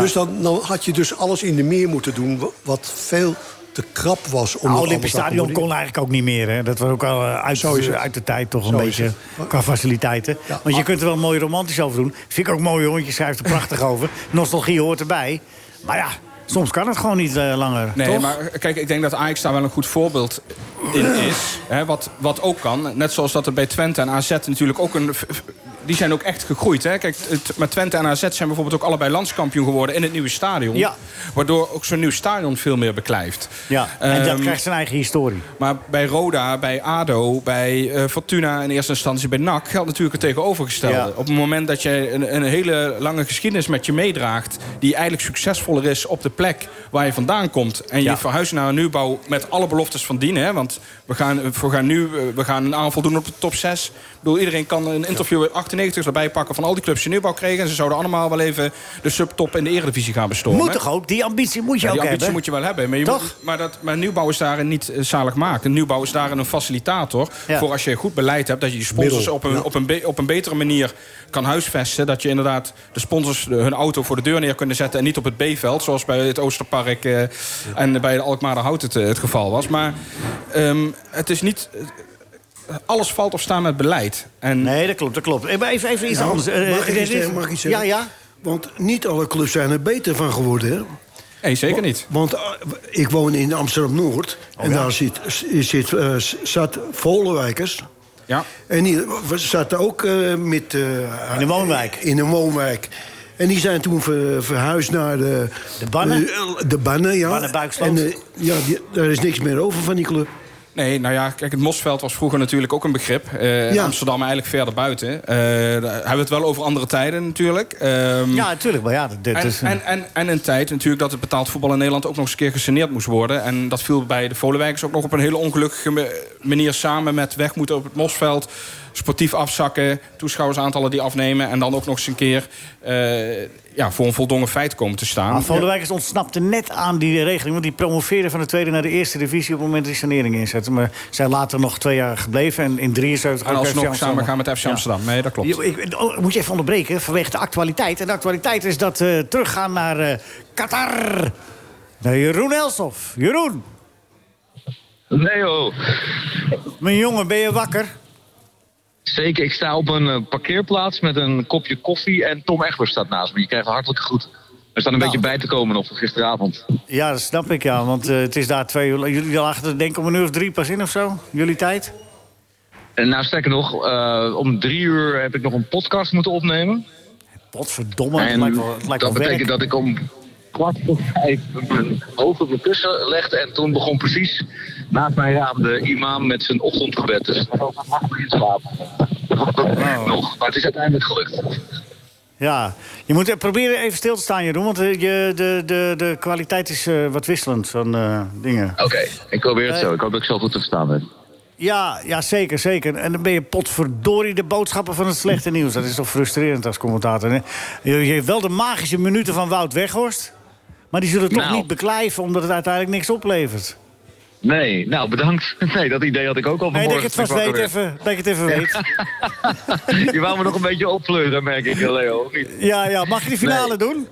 Dus dan, dan had je dus alles in de meer moeten doen wa- wat veel te krap was. Om Nou, dat Olympisch allemaal te Stadion kon accommoderen. eigenlijk ook niet meer. Hè? Dat was ook al eh, uit, Zo is het. uit de tijd toch een Zo is beetje het. qua faciliteiten. Want je kunt er wel mooi romantisch over doen. Vind ik ook mooi, hoor. Je schrijft er prachtig over. Nostalgie hoort erbij. Maar ja, soms kan het gewoon niet eh, langer. Nee, toch? maar kijk, ik denk dat Ajax daar wel een goed voorbeeld in is. Hè, wat, wat ook kan. Net zoals dat er bij Twente en AZ natuurlijk ook een... Die zijn ook echt gegroeid. Hè? Kijk, het, maar Twente en AZ zijn bijvoorbeeld ook allebei landskampioen geworden in het nieuwe stadion. Ja. Waardoor ook zo'n nieuw stadion veel meer beklijft. Ja, en dat Ehm, krijgt zijn eigen historie. Maar bij Roda, bij ADO, bij eh, Fortuna in eerste instantie bij NAC... geldt natuurlijk het tegenovergestelde. Ja. Op het moment dat je een, een hele lange geschiedenis met je meedraagt... die eigenlijk succesvoller is op de plek waar je vandaan komt... en je verhuist naar een nieuwbouw met alle beloftes van dien... Hè, want we gaan, we gaan nu eh, we gaan een aanval doen op de top 6. Ik bedoel, iedereen kan een interview in 98 erbij pakken... van al die clubs die nieuwbouw kregen... en ze zouden allemaal wel even de subtop in de eredivisie gaan bestormen. Moet toch ook? Die ambitie moet je Ja, ook die ambitie hebben. moet je wel hebben. Maar, je Toch? Moet, maar, dat, maar nieuwbouw is daarin niet eh, zalig maakt. Een nieuwbouw is daarin een facilitator. Ja. Voor als je goed beleid hebt, dat je je sponsors Middel, op een, op, een be- op een betere manier kan huisvesten. Dat je inderdaad de sponsors eh, hun auto voor de deur neer kunnen zetten. En niet op het B-veld, zoals bij het Oosterpark eh, en bij de Alkmaar Hout het, eh, het geval was. Maar ehm, het is niet. eh, Alles valt of staat met beleid. En... Nee, dat klopt, dat klopt. Even, even iets Nou, anders. Eh, mag, ik eh, iets dit- zeggen, mag ik iets zeggen? Ja, ja. Want niet alle clubs zijn er beter van geworden, hè? Nee, zeker niet. Oh, Want eh, ik woon in Amsterdam-Noord. en ja. daar zit, zit, eh, zat Vollenwijkers. Ja. En die zaten ook eh, met... in een woonwijk. In een woonwijk. En die zijn toen ver- verhuisd naar de... De Bannen? De, de Bannen, ja. Bannen Buiksland. En eh, ja, die- daar is niks meer over van die club. Nee, nou ja, kijk, het Mosveld was vroeger natuurlijk ook een begrip. Eh, Ja. Amsterdam eigenlijk verder buiten. Eh, daar hebben we het wel over andere tijden natuurlijk. Ehm, Ja, natuurlijk. Maar ja, dat, dat en, is... en, en, en een tijd natuurlijk dat het betaald voetbal in Nederland ook nog eens een keer gesaneerd moest worden. En dat viel bij de Volenwijkers ook nog op een hele ongelukkige me- manier samen met weg moeten op het Mosveld. Sportief afzakken, toeschouwersaantallen die afnemen. En dan ook nog eens een keer eh, ja, voor een voldongen feit komen te staan. Maar Vollenwijkers Ah, ontsnapte net aan die regeling. Want die promoveerden van de tweede naar de eerste divisie... op het moment dat die sanering inzetten. Maar zijn later nog twee jaar gebleven. En in 73 en ook FC alsnog Amsterdam. samen gaan met FC Amsterdam. Nee, dat klopt. Ja, ik, oh, moet je even onderbreken vanwege de actualiteit. En de actualiteit is dat eh teruggaan naar eh, Qatar. Naar Jeroen Elsof. Jeroen, Nee joh. mijn jongen, ben je wakker? Zeker, ik sta op een eh, parkeerplaats met een kopje koffie en Tom Egbers staat naast me. Je krijgt een hartelijke groet. Er staat een Nou. beetje bij te komen nog van gisteravond. Ja, dat snap ik ja, want eh, het is daar twee uur. Jullie lagen er denk ik om een uur of drie pas in of zo, jullie tijd. En nou, sterker nog, eh, om drie uur heb ik nog een podcast moeten opnemen. Potverdomme, het en lijkt wel, het lijkt dat wel werk. betekent dat ik om kwart voor vijf mijn hoofd op mijn kussen legde. En toen begon precies naast mijn raam de imam met zijn ochtendgebed. Dus ik was nog in slapen. Nog, maar het is uiteindelijk gelukt. Ja, je moet eh, proberen even stil te staan, Jeroen, want eh, je, de, de, de kwaliteit is eh, wat wisselend van eh, dingen. Oké, ik probeer het zo. Ik hoop dat ik zo goed te verstaan ben. Ja, ja, zeker, zeker. En dan ben je potverdorie de boodschappen van het slechte nieuws. Dat is toch frustrerend als commentator, hè? Je, je hebt wel de magische minuten van Wout Weghorst... maar die zullen toch Nou. niet beklijven omdat het uiteindelijk niks oplevert. Nee, nou bedankt. Nee, dat idee had ik ook al Nee, vanmorgen. dat ik het vast weet wakker even. Dat ik het even weet. werd. Je wou me nog een beetje oppleuren, merk ik, Leo. of niet? Ja, ja, mag je de finale doen? Nou,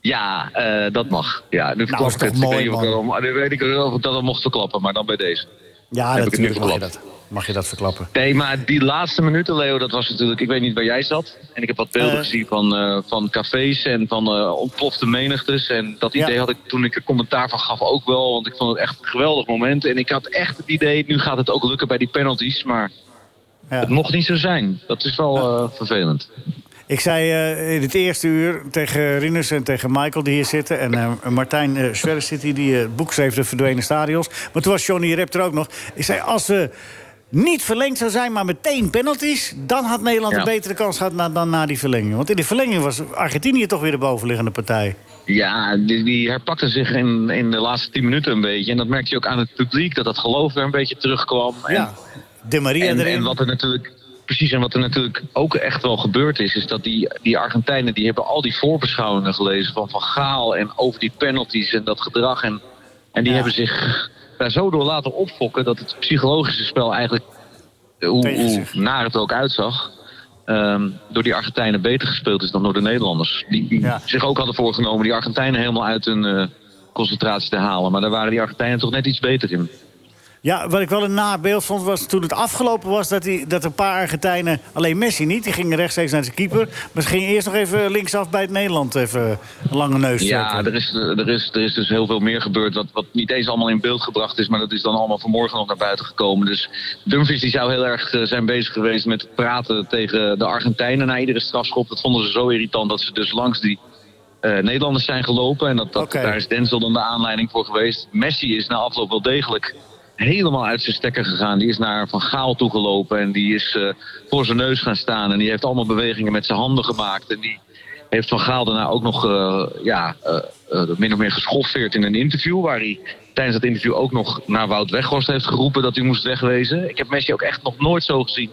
Ja, eh, dat mag. Ja, Nou, nu verklap is ik toch het. Ik weet mooi, niet of ik dat al- Nu weet ik wel of ik dat al mocht verklappen, maar dan bij deze. Ja, Heb ik het nu natuurlijk mag je verklapt. dat. Mag je dat verklappen. Nee, maar die laatste minuten, Leo, dat was natuurlijk... Ik weet niet waar jij zat. En ik heb wat beelden Eh. gezien van, eh, van cafés en van eh, ontplofte menigtes. En dat idee had ik toen ik er commentaar van gaf ook wel. Want ik vond het echt een geweldig moment. En ik had echt het idee, nu gaat het ook lukken bij die penalties. Maar het mocht niet zo zijn. Dat is wel eh, vervelend. Ik zei eh, in het eerste uur tegen Rinus en tegen Michael die hier zitten... en eh, Martijn eh Zwerre zit hier, die eh, het boek schreef De Verdwenen Stadions. Maar toen was Johnny Rep er ook nog. Ik zei, als ze niet verlengd zou zijn, maar meteen penalties... dan had Nederland Ja. een betere kans gehad na, dan na die verlenging. Want in die verlenging was Argentinië toch weer de bovenliggende partij. Ja, die, die herpakte zich in, in de laatste tien minuten een beetje. En dat merkte je ook aan het publiek, dat dat geloof er een beetje terugkwam. En, Ja, De Maria en, erin. en wat er natuurlijk, precies, en wat er natuurlijk ook echt wel gebeurd is, is dat die, die Argentijnen, die hebben al die voorbeschouwingen gelezen van Van Gaal en over die penalties en dat gedrag. En, en die hebben zich daar zo door laten opfokken dat het psychologische spel eigenlijk hoe, Tegen hoe naar het er ook uitzag, ehm, door die Argentijnen beter gespeeld is dan door de Nederlanders. Die, die zich ook hadden voorgenomen die Argentijnen helemaal uit hun eh, concentratie te halen. Maar daar waren die Argentijnen toch net iets beter in. Ja, wat ik wel een nabeeld vond was toen het afgelopen was... dat, die, dat een paar Argentijnen, alleen Messi niet... die ging rechtstreeks naar zijn keeper... maar ze gingen eerst nog even linksaf bij het Nederland... even een lange neus trekken. Ja, er is, er, is, er is dus heel veel meer gebeurd wat, wat niet eens allemaal in beeld gebracht is. Maar dat is dan allemaal vanmorgen nog naar buiten gekomen. Dus Dumfries die zou heel erg eh, zijn bezig geweest met het praten tegen de Argentijnen na iedere strafschop. Dat vonden ze zo irritant dat ze dus langs die eh, Nederlanders zijn gelopen. En dat, dat, daar is Denzel dan de aanleiding voor geweest. Messi is na afloop wel degelijk helemaal uit zijn stekker gegaan. Die is naar Van Gaal toegelopen en die is eh, voor zijn neus gaan staan. En die heeft allemaal bewegingen met zijn handen gemaakt. En die heeft Van Gaal daarna ook nog eh, ja, eh, eh, min of meer geschoffeerd in een interview... waar hij tijdens dat interview ook nog naar Wout Weghorst heeft geroepen... dat hij moest wegwezen. Ik heb Messi ook echt nog nooit zo gezien.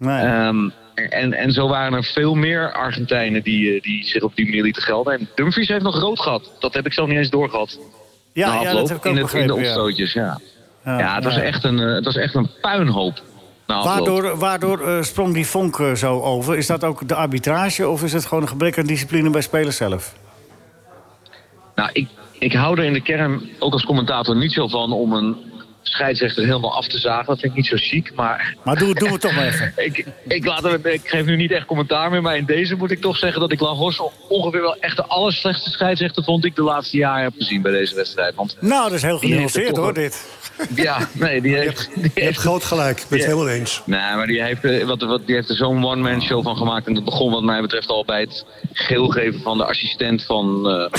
Ehm, en, en zo waren er veel meer Argentijnen die, eh, die zich op die manier lieten gelden. En Dumfries heeft nog rood gehad. Dat heb ik zelf niet eens doorgehad. Ja, Na ja, afloop, dat heb ik ook in, het, in de begrepen, ja. opstootjes, ja. Ja, het, was ja. echt een, eh, het was echt een puinhoop. Nou, na afloop. Waardoor, waardoor eh, sprong die vonk eh, zo over? Is dat ook de arbitrage of is het gewoon een gebrek aan discipline bij spelers zelf? Nou, ik, ik hou er in de kern, ook als commentator, niet zo van om een scheidsrechter helemaal af te zagen. Dat vind ik niet zo chic, maar... Maar doe, doe het toch maar even. ik, ik, laat hem- ik geef nu niet echt commentaar meer, maar in deze moet ik toch zeggen dat ik Lagos ongeveer wel echt de allerslechtste scheidsrechter vond die ik de laatste jaren heb gezien bij deze wedstrijd. Want Nou, dat is heel Die heeft genuanceerd er toch hoor, een- dit. ja, nee, die heeft... Die Je hebt groot gelijk, ik ben het Ja. helemaal eens. Nee, maar die heeft, eh, wat, wat, die heeft er zo'n one-man show van gemaakt. En dat begon wat mij betreft al bij het geel geven van de assistent van, eh,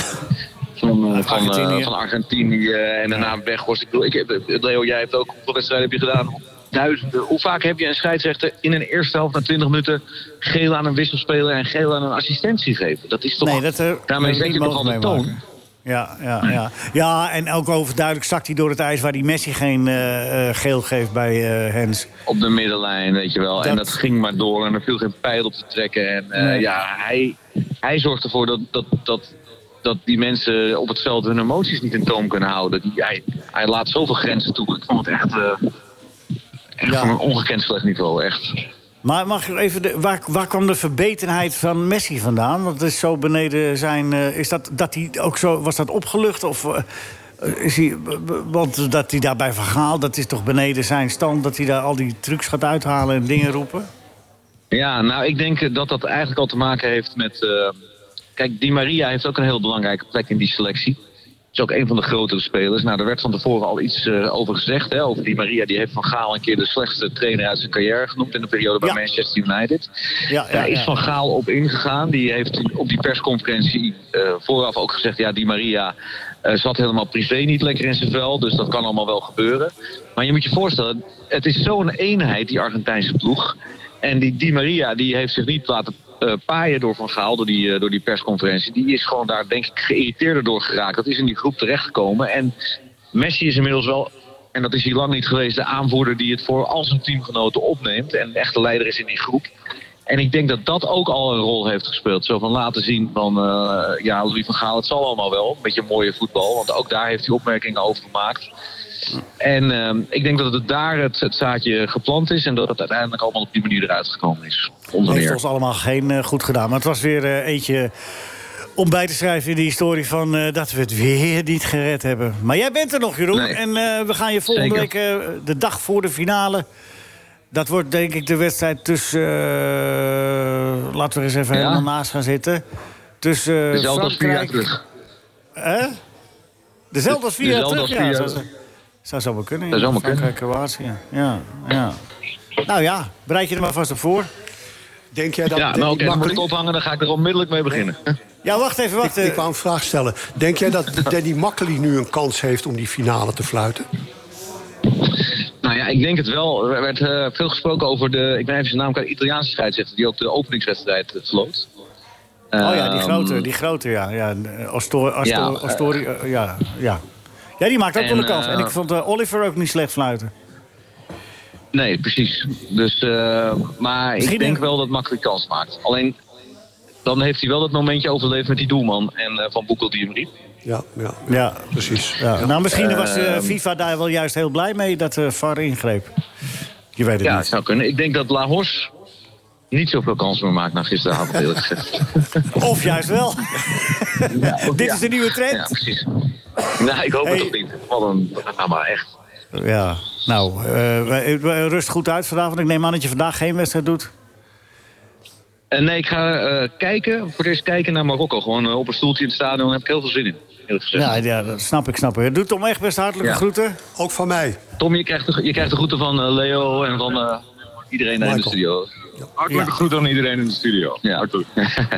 van, eh, van, eh, Argentinië. van Argentinië. eh, en daarna Weghorst. Ik bedoel, ik, heb- Leo, jij hebt ook hoeveel wedstrijden heb je gedaan? Duizenden. Hoe vaak heb je een scheidsrechter in een eerste helft na 20 minuten geel aan een wisselspeler en geel aan een assistentie geven? Dat is toch. Nee, dat, eh, daarmee hebben we zet je niet toch al de mogen toon. meemaken. Ja, ja, ja. ja, en ook overduidelijk zakt hij door het ijs waar die Messi geen eh, eh, geel geeft bij eh, Hens. op de middenlijn, weet je wel. Oh, En dat ging maar door en er viel geen pijl op te trekken. En eh, Nee. ja, hij, hij zorgt ervoor dat, dat, dat, dat die mensen op het veld hun emoties niet in toom kunnen houden. Die, hij, hij laat zoveel grenzen toe. Ik vond het echt, eh, echt van een ongekend slecht niveau, echt. Maar mag ik even, de, waar, waar kwam de verbetenheid van Messi vandaan? Want het is zo beneden zijn. eh, is dat, dat hij ook zo, was dat opgelucht? Of eh, is hij, b- b- want dat hij daarbij verhaal, dat is toch beneden zijn stand? Dat hij daar al die trucs gaat uithalen en dingen roepen? Ja, nou, ik denk eh, dat dat eigenlijk al te maken heeft met... eh, kijk, Di Maria heeft ook een heel belangrijke plek in die selectie. Is ook een van de grotere spelers. Nou, daar werd van tevoren al iets eh, over gezegd. Hè, over Di Maria, die heeft Van Gaal een keer de slechtste trainer uit zijn carrière genoemd... in de periode bij Manchester United. daar is Van Gaal op ingegaan. Die heeft op die persconferentie eh, vooraf ook gezegd... ja, Di Maria eh, zat helemaal privé niet lekker in zijn vel. Dus dat kan allemaal wel gebeuren. Maar je moet je voorstellen, het is zo'n eenheid, die Argentijnse ploeg... En die Di Maria die heeft zich niet laten eh, paaien door Van Gaal, door die, eh, door die persconferentie. Die is gewoon daar, denk ik, geïrriteerder door geraakt. Dat is in die groep terechtgekomen. En Messi is inmiddels wel, en dat is hij lang niet geweest, de aanvoerder die het voor al zijn teamgenoten opneemt. En echt de leider is in die groep. En ik denk dat dat ook al een rol heeft gespeeld. Zo van laten zien van, eh, ja, Louis van Gaal, het zal allemaal wel. Een beetje mooie voetbal, want ook daar heeft hij opmerkingen over gemaakt. En ehm, ik denk dat het daar het, het zaadje geplant is en dat het uiteindelijk allemaal op die manier eruit gekomen is. Onder heeft meer. ons allemaal geen eh, goed gedaan. Maar het was weer eh, eentje om bij te schrijven in de historie van eh, dat we het weer niet gered hebben. Maar jij bent er nog, Jeroen. Nee. En eh, we gaan je volgende Zeker. week, eh, de dag voor de finale. Dat wordt denk ik de wedstrijd tussen. eh, laten we er eens even Ja? helemaal naast gaan zitten. Tussen eh, Dezelfde als vier jaar Frankrijk. terug. Hè? Dezelfde als vier jaar Dezelfde als terug, vier ja. jaar zou- terug. Zou zo maar kunnen. Dat ja. zou maar kunnen. Frankrijk, Kroatië. Ja, ja. Nou ja, bereid je er maar vast op voor. Denk jij Ja, nou oké, dan moet ik ophangen, dan ga ik er onmiddellijk mee beginnen. Ja, wacht even, wacht eh, Ik, ik wou een vraag stellen. Denk jij dat Danny Makkely nu een kans heeft om die finale te fluiten? Nou ja, ik denk het wel. Er werd eh, veel gesproken over de, ik ben even zijn naam kwijt, Italiaanse scheidsrechter die ook de openingswedstrijd eh, sloot. Oh ja, die Ehm, grote, die grote, ja. ja eh, Astor, Astor, Ja, eh, Astori- eh, ja, ja. ja, die maakt ook En, wel een kans. eh, En ik vond eh, Oliver ook niet slecht fluiten. Nee, precies. Dus, eh, maar Misschien ik denk een- wel dat makkelijk kans maakt. Alleen, dan heeft hij wel dat momentje overleefd met die doelman en eh, Van Boekel die hem riep. Ja, ja, ja. precies. Ja. Nou, misschien was eh, Ehm, FIFA daar wel juist heel blij mee dat eh VAR ingreep. Je weet het ja, niet. zou kunnen. Ik denk dat La Hors niet zoveel kans meer maakt na gisteravond, eerlijk gezegd. Of juist wel. Dit ja. is de nieuwe trend. Ja, precies. Nou, ik hoop het toch niet. Wat een drama, echt. Ja, nou, eh, wij- wij- rust goed uit vanavond. Ik neem aan dat je vandaag geen wedstrijd doet. En nee, ik ga eh, kijken, voor het eerst kijken naar Marokko. Gewoon eh, op een stoeltje in het stadion, daar heb ik heel veel zin in, eerlijk gezegd. Ja, ja dat snap ik, snap ik. Doe Tom echt best hartelijke Ja. groeten. Ook van mij. Tom, je krijgt, de, je krijgt de groeten van eh, Leo en van eh, iedereen daar in de studio. Hartelijke groet aan iedereen in de studio. Ja.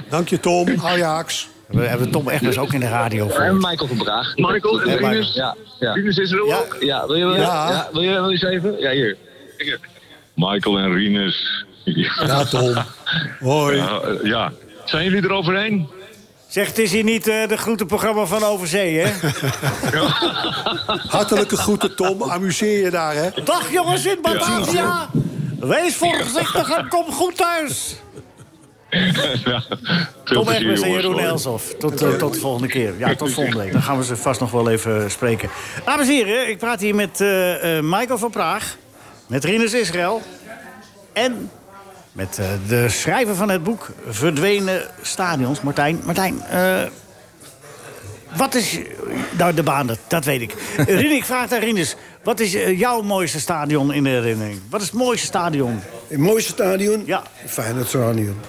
Dank je, Tom. Ajax. We hebben Tom Egbers ook in de radio. Ja, En Michael van Braag. Michael, en Ja, Rinus? Ja, ja. Rinus is er ja. ook? Ja, wil je wel Ja. ja, wil je wel eens even? Ja, hier. Michael en Rinus. Ja, Tom. Hoi. ja. Zijn jullie er overheen? Zeg, het is hier niet eh, de groetenprogramma van Overzee, hè? Hartelijke groeten, Tom. Amuseer je daar, hè? Dag jongens in Batavia. Ja. Wees voorzichtig en kom goed thuis. ja, Tom Egbers en Jeroen Elsof. Tot, eh, tot de volgende keer. Ja, tot volgende week. Dan gaan we ze vast nog wel even spreken. Dames en heren, ik praat hier met eh, eh, Michael van Praag. Met Rinus Israël. En met eh, de schrijver van het boek Verdwenen Stadions, Martijn. Martijn, eh, wat is... Nou, de baan, dat, dat weet ik. Eh, Rinus, ik vraag aan Rinus. Wat is eh, jouw mooiste stadion in de herinnering? Wat is het mooiste stadion? Het mooiste stadion? Ja. Feyenoord Stadion.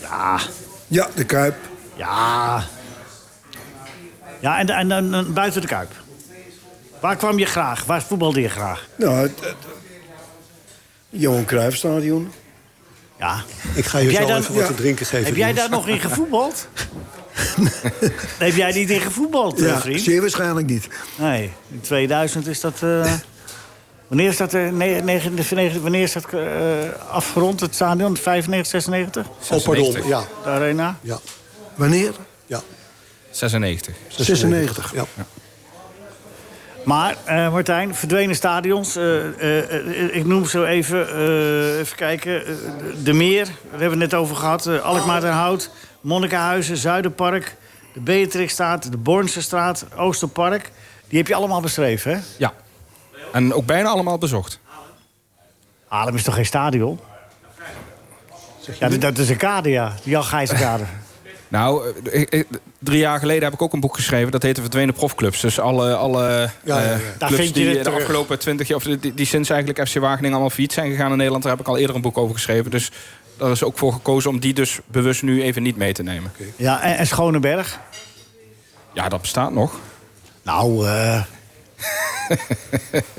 Ja. Ja, de Kuip. Ja. Ja, en, en, en, en buiten de Kuip. Waar kwam je graag? Waar voetbalde je graag? Nou, het, het- Johan Cruijff Stadion. Ja. Ik ga je Heb zo jij dan- even wat Ja. te drinken geven. Heb jij Niels. daar nog in gevoetbald? Heb jij niet in gevoetbald, eh, Ja, vriend? zeer waarschijnlijk niet. Nee, in 2000 is dat... eh, wanneer is dat, eh, ne- negen- negen- wanneer is dat eh, afgerond, het stadion? 95, 96? Oh, pardon, ja. De arena? Ja. Wanneer? Ja. 96. 96, ja. Maar, eh, Martijn, verdwenen stadions. eh, eh, eh, ik noem zo even, eh, even kijken. eh, de Meer, daar hebben we het net over gehad. eh, Alkmaar den Hout, Monnikenhuizen, Zuiderpark... de Beatrixstraat, de Bornsestraat, Oosterpark. Die heb je allemaal beschreven, hè? Ja. En ook bijna allemaal bezocht. Haarlem is toch geen stadion? Ja, dat- dat is een kade, ja. De Jan Gijzenkade. Nou, eh, ik- ik- drie jaar geleden heb ik ook een boek geschreven. Dat heette Verdwenen Profclubs. Dus alle, alle ja, ja. eh, Daar clubs vind je die het de terug. afgelopen twintig jaar... of die, die sinds eigenlijk FC Wageningen allemaal failliet zijn gegaan in Nederland... daar heb ik al eerder een boek over geschreven. Dus daar is ook voor gekozen om die dus bewust nu even niet mee te nemen. ja, en, en Schoneberg. Ja, dat bestaat nog. Nou, eh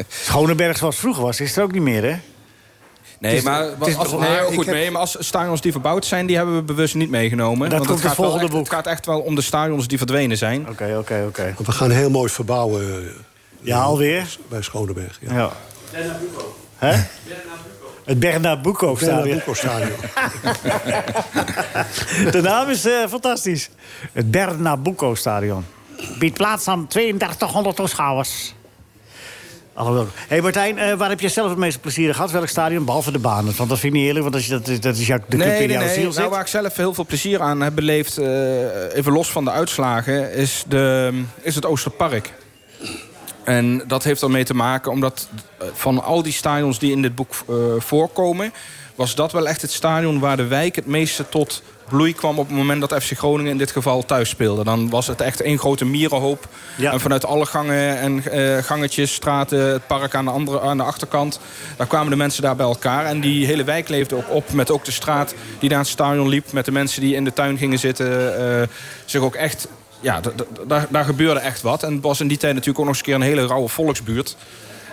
Schoneberg zoals het vroeger was, is er ook niet meer, hè? Nee, Het is- maar het wat- is als, toch nee, waar? goed Ik heb- mee, maar als stadions die verbouwd zijn, die hebben we bewust niet meegenomen. Dat Want komt in het gaat wel volgende echt- Het gaat echt wel om de stadions die verdwenen zijn. Oké, oké, oké. We gaan heel mooi verbouwen. eh, Ja, alweer? Bij Schoneberg, ja. Ja. Hè? Het Bernardo Stadion. Bernardo Stadion. De naam is eh, fantastisch. Het Bernardo Stadion. Biedt plaats aan 3200 toeschouwers. Alhoewel. Hé hey Martijn, eh, waar heb jij zelf het meeste plezier in gehad? Welk stadion? Behalve de banen. Want dat vind ik niet eerlijk, want als je, dat, dat is jouw, de club nee, in nee, jouw nee. ziel Nou, zit. waar ik zelf heel veel plezier aan heb beleefd, eh, even los van de uitslagen, is, de, is het Oosterpark. En dat heeft ermee te maken omdat eh, van al die stadions die in dit boek eh, voorkomen, was dat wel echt het stadion waar de wijk het meeste tot bloei kwam op het moment dat FC Groningen in dit geval thuis speelde. Dan was het echt één grote mierenhoop. En vanuit alle gangen en eh, gangetjes, straten, het park aan de, andere, aan de achterkant, daar kwamen de mensen daar bij elkaar. En die hele wijk leefde ook op met ook de straat die naar het stadion liep, met de mensen die in de tuin gingen zitten, eh, zich ook echt ja, d- d- daar, daar gebeurde echt wat. En het was in die tijd natuurlijk ook nog eens een keer een hele rauwe volksbuurt.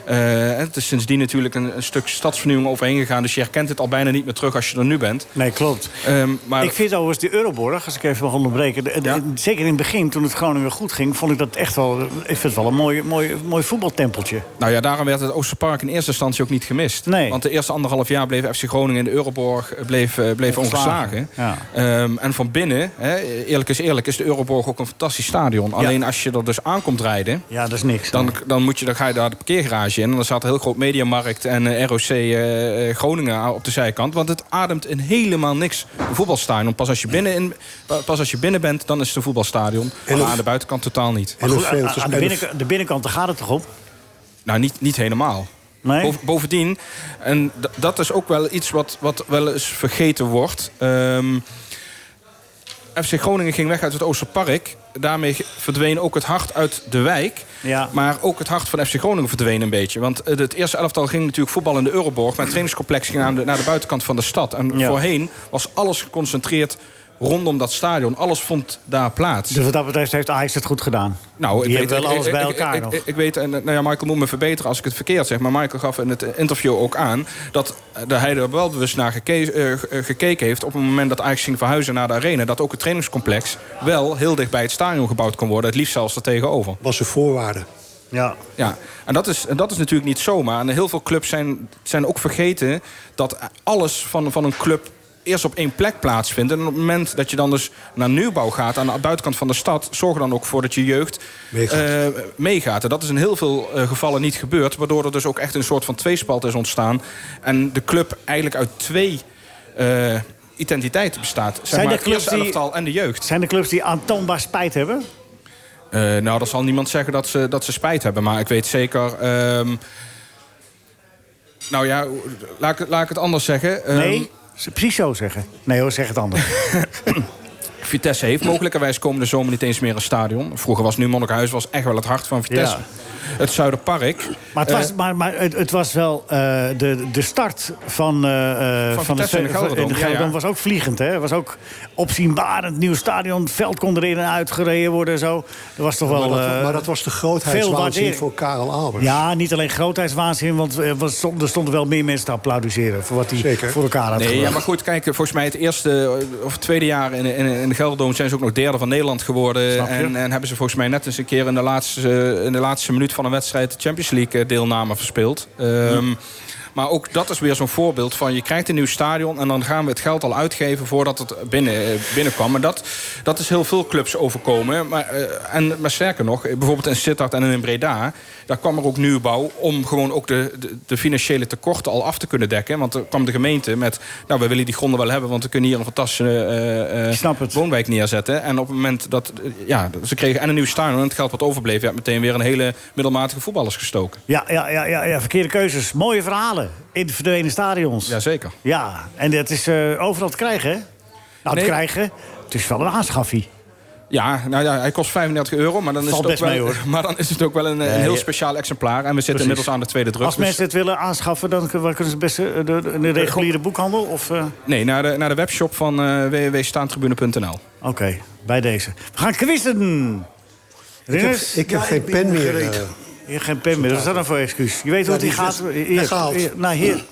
Eh, het is sindsdien natuurlijk een, een stuk stadsvernieuwing overheen gegaan. Dus je herkent het al bijna niet meer terug als je er nu bent. Ehm, Nee, klopt. Eh, maar Ik vind overigens de Euroborg, als ik even mag onderbreken... de- de- zeker in het begin, toen het Groningen goed ging... vond ik dat echt wel, ik vind het wel een mooi, mooi, mooi voetbaltempeltje. Nou ja, daarom werd het Oosterpark in eerste instantie ook niet gemist. Want de eerste anderhalf jaar bleef FC Groningen in de Euroborg eh, bleef, eh, bleef Ongeslagen. ongeslagen. Ja. Ehm, en van binnen, hè, eerlijk is eerlijk, is de Euroborg ook een fantastisch stadion. Alleen als je er dus aankomt rijden... Ja, dat is niks. Dan, dan, moet je, dan ga je daar de parkeergarage in. En dan staat een heel groot Mediamarkt en eh, ROC eh, eh, Groningen op de zijkant. Want het ademt in helemaal niks een voetbalstadion. Pas als je binnen, in, pas als je binnen bent, dan is het een voetbalstadion. En maar of- aan de buitenkant totaal niet. Maar goed, aan- aan de binnenkant, de binnenkant daar gaat het toch om? Nou, niet, niet helemaal. Bov- Bovendien, en d- dat is ook wel iets wat, wat wel eens vergeten wordt. Ehm, FC Groningen ging weg uit het Oosterpark. Daarmee ge- verdween ook het hart uit de wijk. Maar ook het hart van FC Groningen verdween een beetje. Want eh, het eerste elftal ging natuurlijk voetbal in de Euroborg. Maar het trainingscomplex ging aan de- naar de buitenkant van de stad. En Ja. voorheen was alles geconcentreerd rondom dat stadion. Alles vond daar plaats. Dus wat dat betreft heeft Ajax het goed gedaan. Nou, ik Die weet, hebben wel ik- alles ik- bij ik- elkaar ik, nog. Ik, ik weet, en eh, nou ja, Michael moet me verbeteren als ik het verkeerd zeg. Maar Michael gaf in het interview ook aan dat eh, dat hij er wel bewust naar geke- eh, ge- eh, gekeken heeft. op het moment dat Ajax ging verhuizen naar de arena. dat ook het trainingscomplex wel heel dicht bij het stadion gebouwd kon worden. Het liefst zelfs er tegenover. Was een voorwaarde. Ja. Ja, en dat is, en dat is natuurlijk niet zomaar. En heel veel clubs zijn, zijn ook vergeten dat alles van, van een club eerst op één plek plaatsvindt. En op het moment dat je dan dus naar nieuwbouw gaat... aan de buitenkant van de stad, zorg er dan ook voor dat je jeugd eh, meegaat. meegaat. En dat is in heel veel eh, gevallen niet gebeurd... waardoor er dus ook echt een soort van tweespalt is ontstaan. En de club eigenlijk uit twee eh, identiteiten bestaat. Zeg maar, het eerste elftal en de jeugd. Zijn de clubs die aantoonbaar spijt hebben? eh, nou, dat zal niemand zeggen dat ze, dat ze spijt hebben. Maar ik weet zeker... ehm, nou ja, laat, ik- laat ik het anders zeggen. Ehm, nee, ze precies zo zeggen. Nee hoor, zeg het anders. Vitesse heeft mogelijkerwijs komende zomer niet eens meer een stadion. Vroeger was nu Monnikenhuis was echt wel het hart van Vitesse. Ja. Het Zuiderpark. Maar het was, eh, maar, maar het, het was wel eh, de, de start van, eh, eh, Van het Vitesse in de eh, Gelderdoom, in de ja, ja. was ook vliegend. hè? was ook opzienbarend. Nieuw stadion, veld kon erin en uitgereden worden. en Zo. Er was toch wel, maar, dat, eh, maar dat was de veel grootheidswaanzin waardering. voor Karel Albers. Ja, niet alleen grootheidswaanzin, want eh, was- stond- er stonden wel meer mensen te applaudisseren voor wat hij voor elkaar had Nee, ja, gebracht. maar goed, kijk, volgens mij het eerste eh, of tweede jaar in, in, in de Gelderdoom... zijn ze ook nog derde van Nederland geworden. Snap je? En, en hebben ze volgens mij net eens een keer... in de laatste, eh, in de laatste minuut van een wedstrijd... de Champions League eh, deelname verspeeld. Ehm, Maar ook dat is weer zo'n voorbeeld van... je krijgt een nieuw stadion en dan gaan we het geld al uitgeven... voordat het binnen, eh, binnenkwam. En dat, dat is heel veel clubs overkomen. Maar, eh, en, maar sterker nog, eh, bijvoorbeeld in Sittard en in Breda... daar kwam er ook nieuwbouw om gewoon ook de, de, de financiële tekorten al af te kunnen dekken. Want er kwam de gemeente met... nou, we willen die gronden wel hebben... want we kunnen hier een fantastische eh, eh, woonwijk neerzetten. En op het moment dat... eh, ja, ze kregen en een nieuw stadion en het geld wat overbleef... werd meteen weer een hele middelmatige voetballers gestoken. Ja, ja, ja, ja, ja, verkeerde keuzes. Mooie verhalen in de verdwenen stadions. Jazeker. Ja, en dat is eh, overal te krijgen, hè? Nou, Nee. te krijgen, het is wel een aanschaffie. Ja, nou ja, hij kost 35 euro, maar dan, is Valt het, ook best wel, mee, hoor. maar dan is het ook wel een, een Nee, heel ja. speciaal exemplaar. En we zitten Precies. inmiddels aan de tweede druk. Als dus- mensen het willen aanschaffen, dan kun- waar kunnen ze het beste eh, de, de, de reguliere boekhandel? Of, eh, Nee, naar de, naar de webshop van eh www.staantribune.nl. Oké, bij deze. We gaan quizzen! Rinus? ik heb Ja, geen ik ben pen meer, gereed. eh. Je hebt geen pen meer, wat is dat nou voor excuus? Je weet hoe Ja, het hier die is gaat. dus Hier, weggehaald. hier, nou, hier.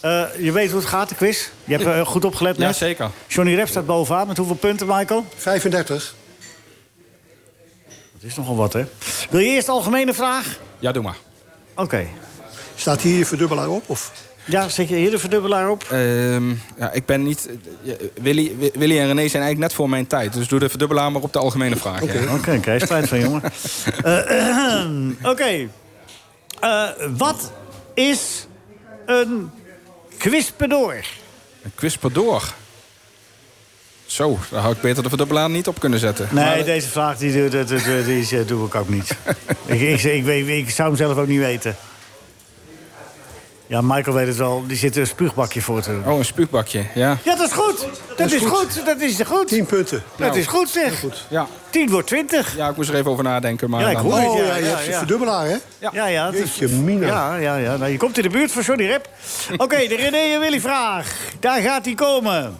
Eh, je weet hoe het gaat, de quiz. Je hebt eh, goed opgelet net. Jazeker. Johnny Rep staat bovenaan. Met hoeveel punten, Michael? 35. Dat is nogal wat, hè? Wil je eerst de algemene vraag? Ja, doe maar. Oké. Staat hier je verdubbelaar op? Of? Ja, zet je hier de verdubbelaar op? Ehm, ja, ik ben niet... eh, Willy, Wi- Willy en René zijn eigenlijk net voor mijn tijd. Dus doe de verdubbelaar maar op de algemene vraag. Oké, oké, krijg je spijt van, jongen. Eh, Oké. Eh, wat is een quizpedoor? Een quizpadoor. Zo, daar had ik beter de verdubbelaar niet op kunnen zetten. Nee, Maar- deze vraag die, die, die, die, die is, eh, doe ik ook niet. ik, ik, ik, weet, ik zou hem zelf ook niet weten. Ja, Michael weet het wel. Die zit er een spuugbakje voor te doen. Oh, een spuugbakje, ja. Ja, dat is goed. Dat is goed. Dat is goed. 10 punten. Dat Nou, is goed, zeg. Ja. 10 voor 20. Ja, ik moest er even over nadenken. Maar Ja, ik dan- hoor het, Oh, ja, ja, je ja, hebt je ja. verdubbelaar, hè? Ja, ja, ja. het is- Jeetje, mina. Ja, ja, ja. Nou, je komt in de buurt van Johnny Rep. Oké, de René en Willy vraag. Daar gaat hij komen.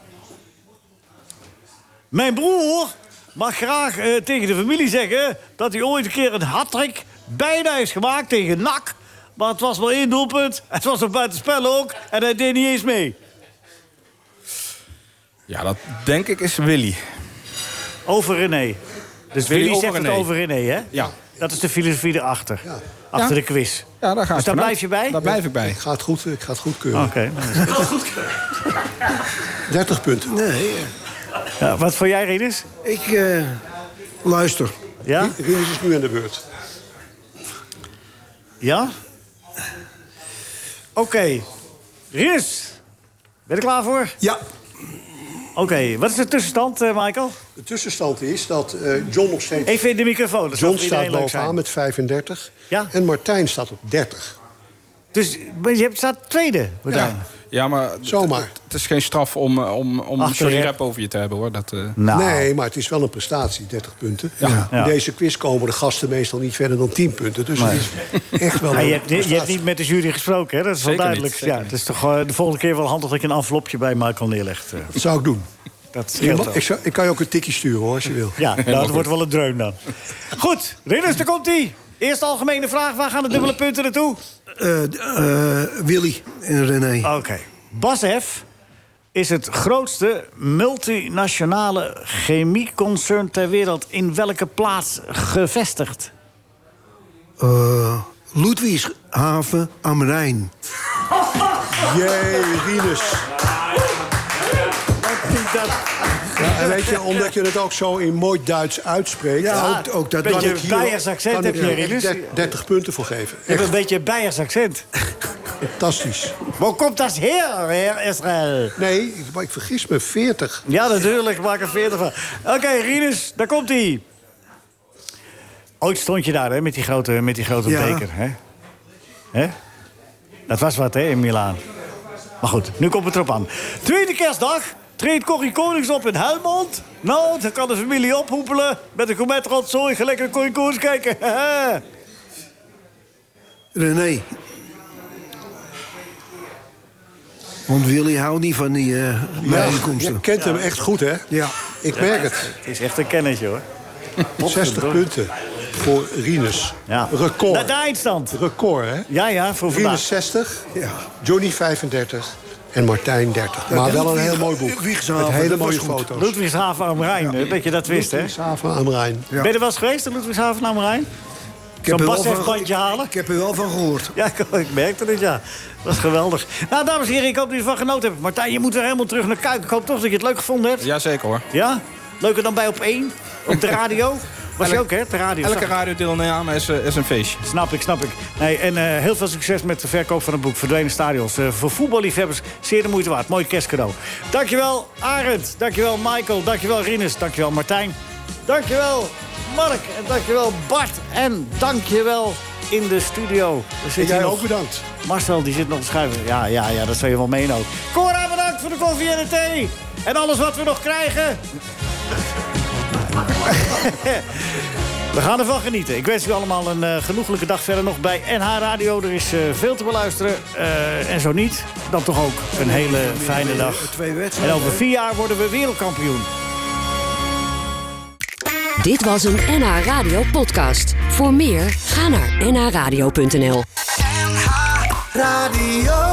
Mijn broer mag graag eh, tegen de familie zeggen... dat hij ooit een keer een hat-trick bijna heeft gemaakt tegen NAC. Maar het was maar één doelpunt. Het was een buitenspel ook. En hij deed niet eens mee. ja, dat denk ik is Willy. Over René. Dus Willy Willy over zegt het René. over René, hè? Ja. Dat is de filosofie erachter. Achter Ja. de quiz. Ja, daar ga Dus ik daar vanuit. blijf je bij? Daar blijf ik bij. Ik ga het goed, ik ga het goedkeuren. Oké. Ah. 30 punten. Nee, Ja, wat voor jij, Rinus? ik eh, luister. Ja? Rinus is nu aan de beurt. Ja? Oké. Rinus, ben je er klaar voor? Ja. Oké, wat is de tussenstand, eh, Michael? De tussenstand is dat eh, John nog steeds... Even in de microfoon. dat zou John voor iedereen staat leuk zijn. bovenaan met 35. En Martijn staat op 30. Dus maar je hebt- staat tweede. Martijn. Ja, maar d- d- Het, is geen straf om, eh, om, om Achter de sorry rep. rap over je te hebben hoor. Dat, eh, Nou, Nee, maar het is wel een prestatie, 30 punten. Ja. In Ja. deze quiz komen de gasten meestal niet verder dan 10 punten. Dus Nee. het is echt wel Ja, een je, hebt, je hebt prestatie. niet met de jury gesproken, hè? dat is wel Zeker duidelijk. niet, zeker ja, het is toch eh, de volgende keer wel handig dat je een envelopje bij Michael neerlegt. eh. Dat zou ik doen. Dat Je scheelt mag- ook. ik, zou- ik kan je ook een tikje sturen hoor, als je wil. Ja, nou, het wordt wel een dreun dan. Goed, Ridders, daar komt ie. Eerst de algemene vraag, waar gaan de dubbele punten naartoe? Eh, Willy en René. Oké. BASF is het grootste multinationale chemieconcern ter wereld. In welke plaats gevestigd? Eh, Ludwigshaven am Rijn. Jee, Rinus. Ja, Nou, en weet je, omdat je het ook zo in mooi Duits uitspreekt... Ja, ook, ook dat beetje kan ik hier- Beiers accent kan heb ik je, hier Rinus. dert- 30 punten voor geven. Je hebt een beetje een Beiers accent. Fantastisch. Waar komt dat her, heer Israël? Nee, maar ik vergis me, 40. Ja, natuurlijk, ik maak er 40 van. Oké, Rinus, daar komt hij. Ooit stond je daar, hè, met die grote, met die grote Ja. beker, hè? hè? Dat was wat, hè, in Milaan. Maar goed, nu komt het erop aan. Tweede kerstdag treedt Corrie Konings op in Helmond. Nou, dan kan de familie ophoepelen met een gourmet rotzooi. Ga lekker Corrie Konings kijken. René. Want Willy houdt niet van die eh bijeenkomsten. je kent hem echt goed, hè? Ja. Ik merk het. Het is echt een kennisje, hoor. 60 punten voor Rinus. Ja. Record. Naar de eindstand. Record, hè? Ja, ja, voor vandaag. Rinus 60, Johnny 35 en Martijn 30. Ja, maar wel een Ludwig- heel mooi boek. Ludwigshaven, Met hele dat was mooie goed. foto's. Ludwigshaven aan de Rijn, hè, dat je dat wist, hè? Ludwigshaven aan de Rijn. Ben je er wel eens geweest in Ludwigshaven aan de Rijn? Ik Zo'n heb er wel basf van bandje halen? Ik heb er wel van gehoord. Ja, ik, ik merkte het, ja. Dat is geweldig. Nou, dames en heren, ik hoop dat je ervan genoten hebt. Martijn, je moet weer helemaal terug naar Kuik. Ik hoop toch dat je het leuk gevonden hebt. Jazeker hoor. Ja? Leuker dan bij op één? Op de radio? Was je Elk- ook, hè? op De radio. Elke Zag- radiodeelname is, eh, is een feestje. Snap ik, snap ik. Nee, en eh, heel veel succes met de verkoop van het boek Verdwenen Stadions. Eh, voor voetballiefhebbers zeer de moeite waard. Mooi kerstcadeau. Dankjewel Arend, dankjewel Michael, dankjewel Rinus, dankjewel Martijn. Dankjewel Mark en dankjewel Bart en dankjewel in de studio. Er zit En jij hier ook bedankt. Marcel die zit nog te schuiven. Ja, ja, ja, dat zou je wel meen ook. Cora, bedankt voor de koffie en de thee. En alles wat we nog krijgen. We gaan ervan genieten. Ik wens u allemaal een eh, genoeglijke dag verder nog bij NH Radio. Er is eh, veel te beluisteren. Eh, en zo niet, dan toch ook een hele fijne dag. Twee En wedstrijden. over vier jaar worden we wereldkampioen. Dit was een NH Radio podcast. Voor meer, ga naar nhradio.nl. Radio.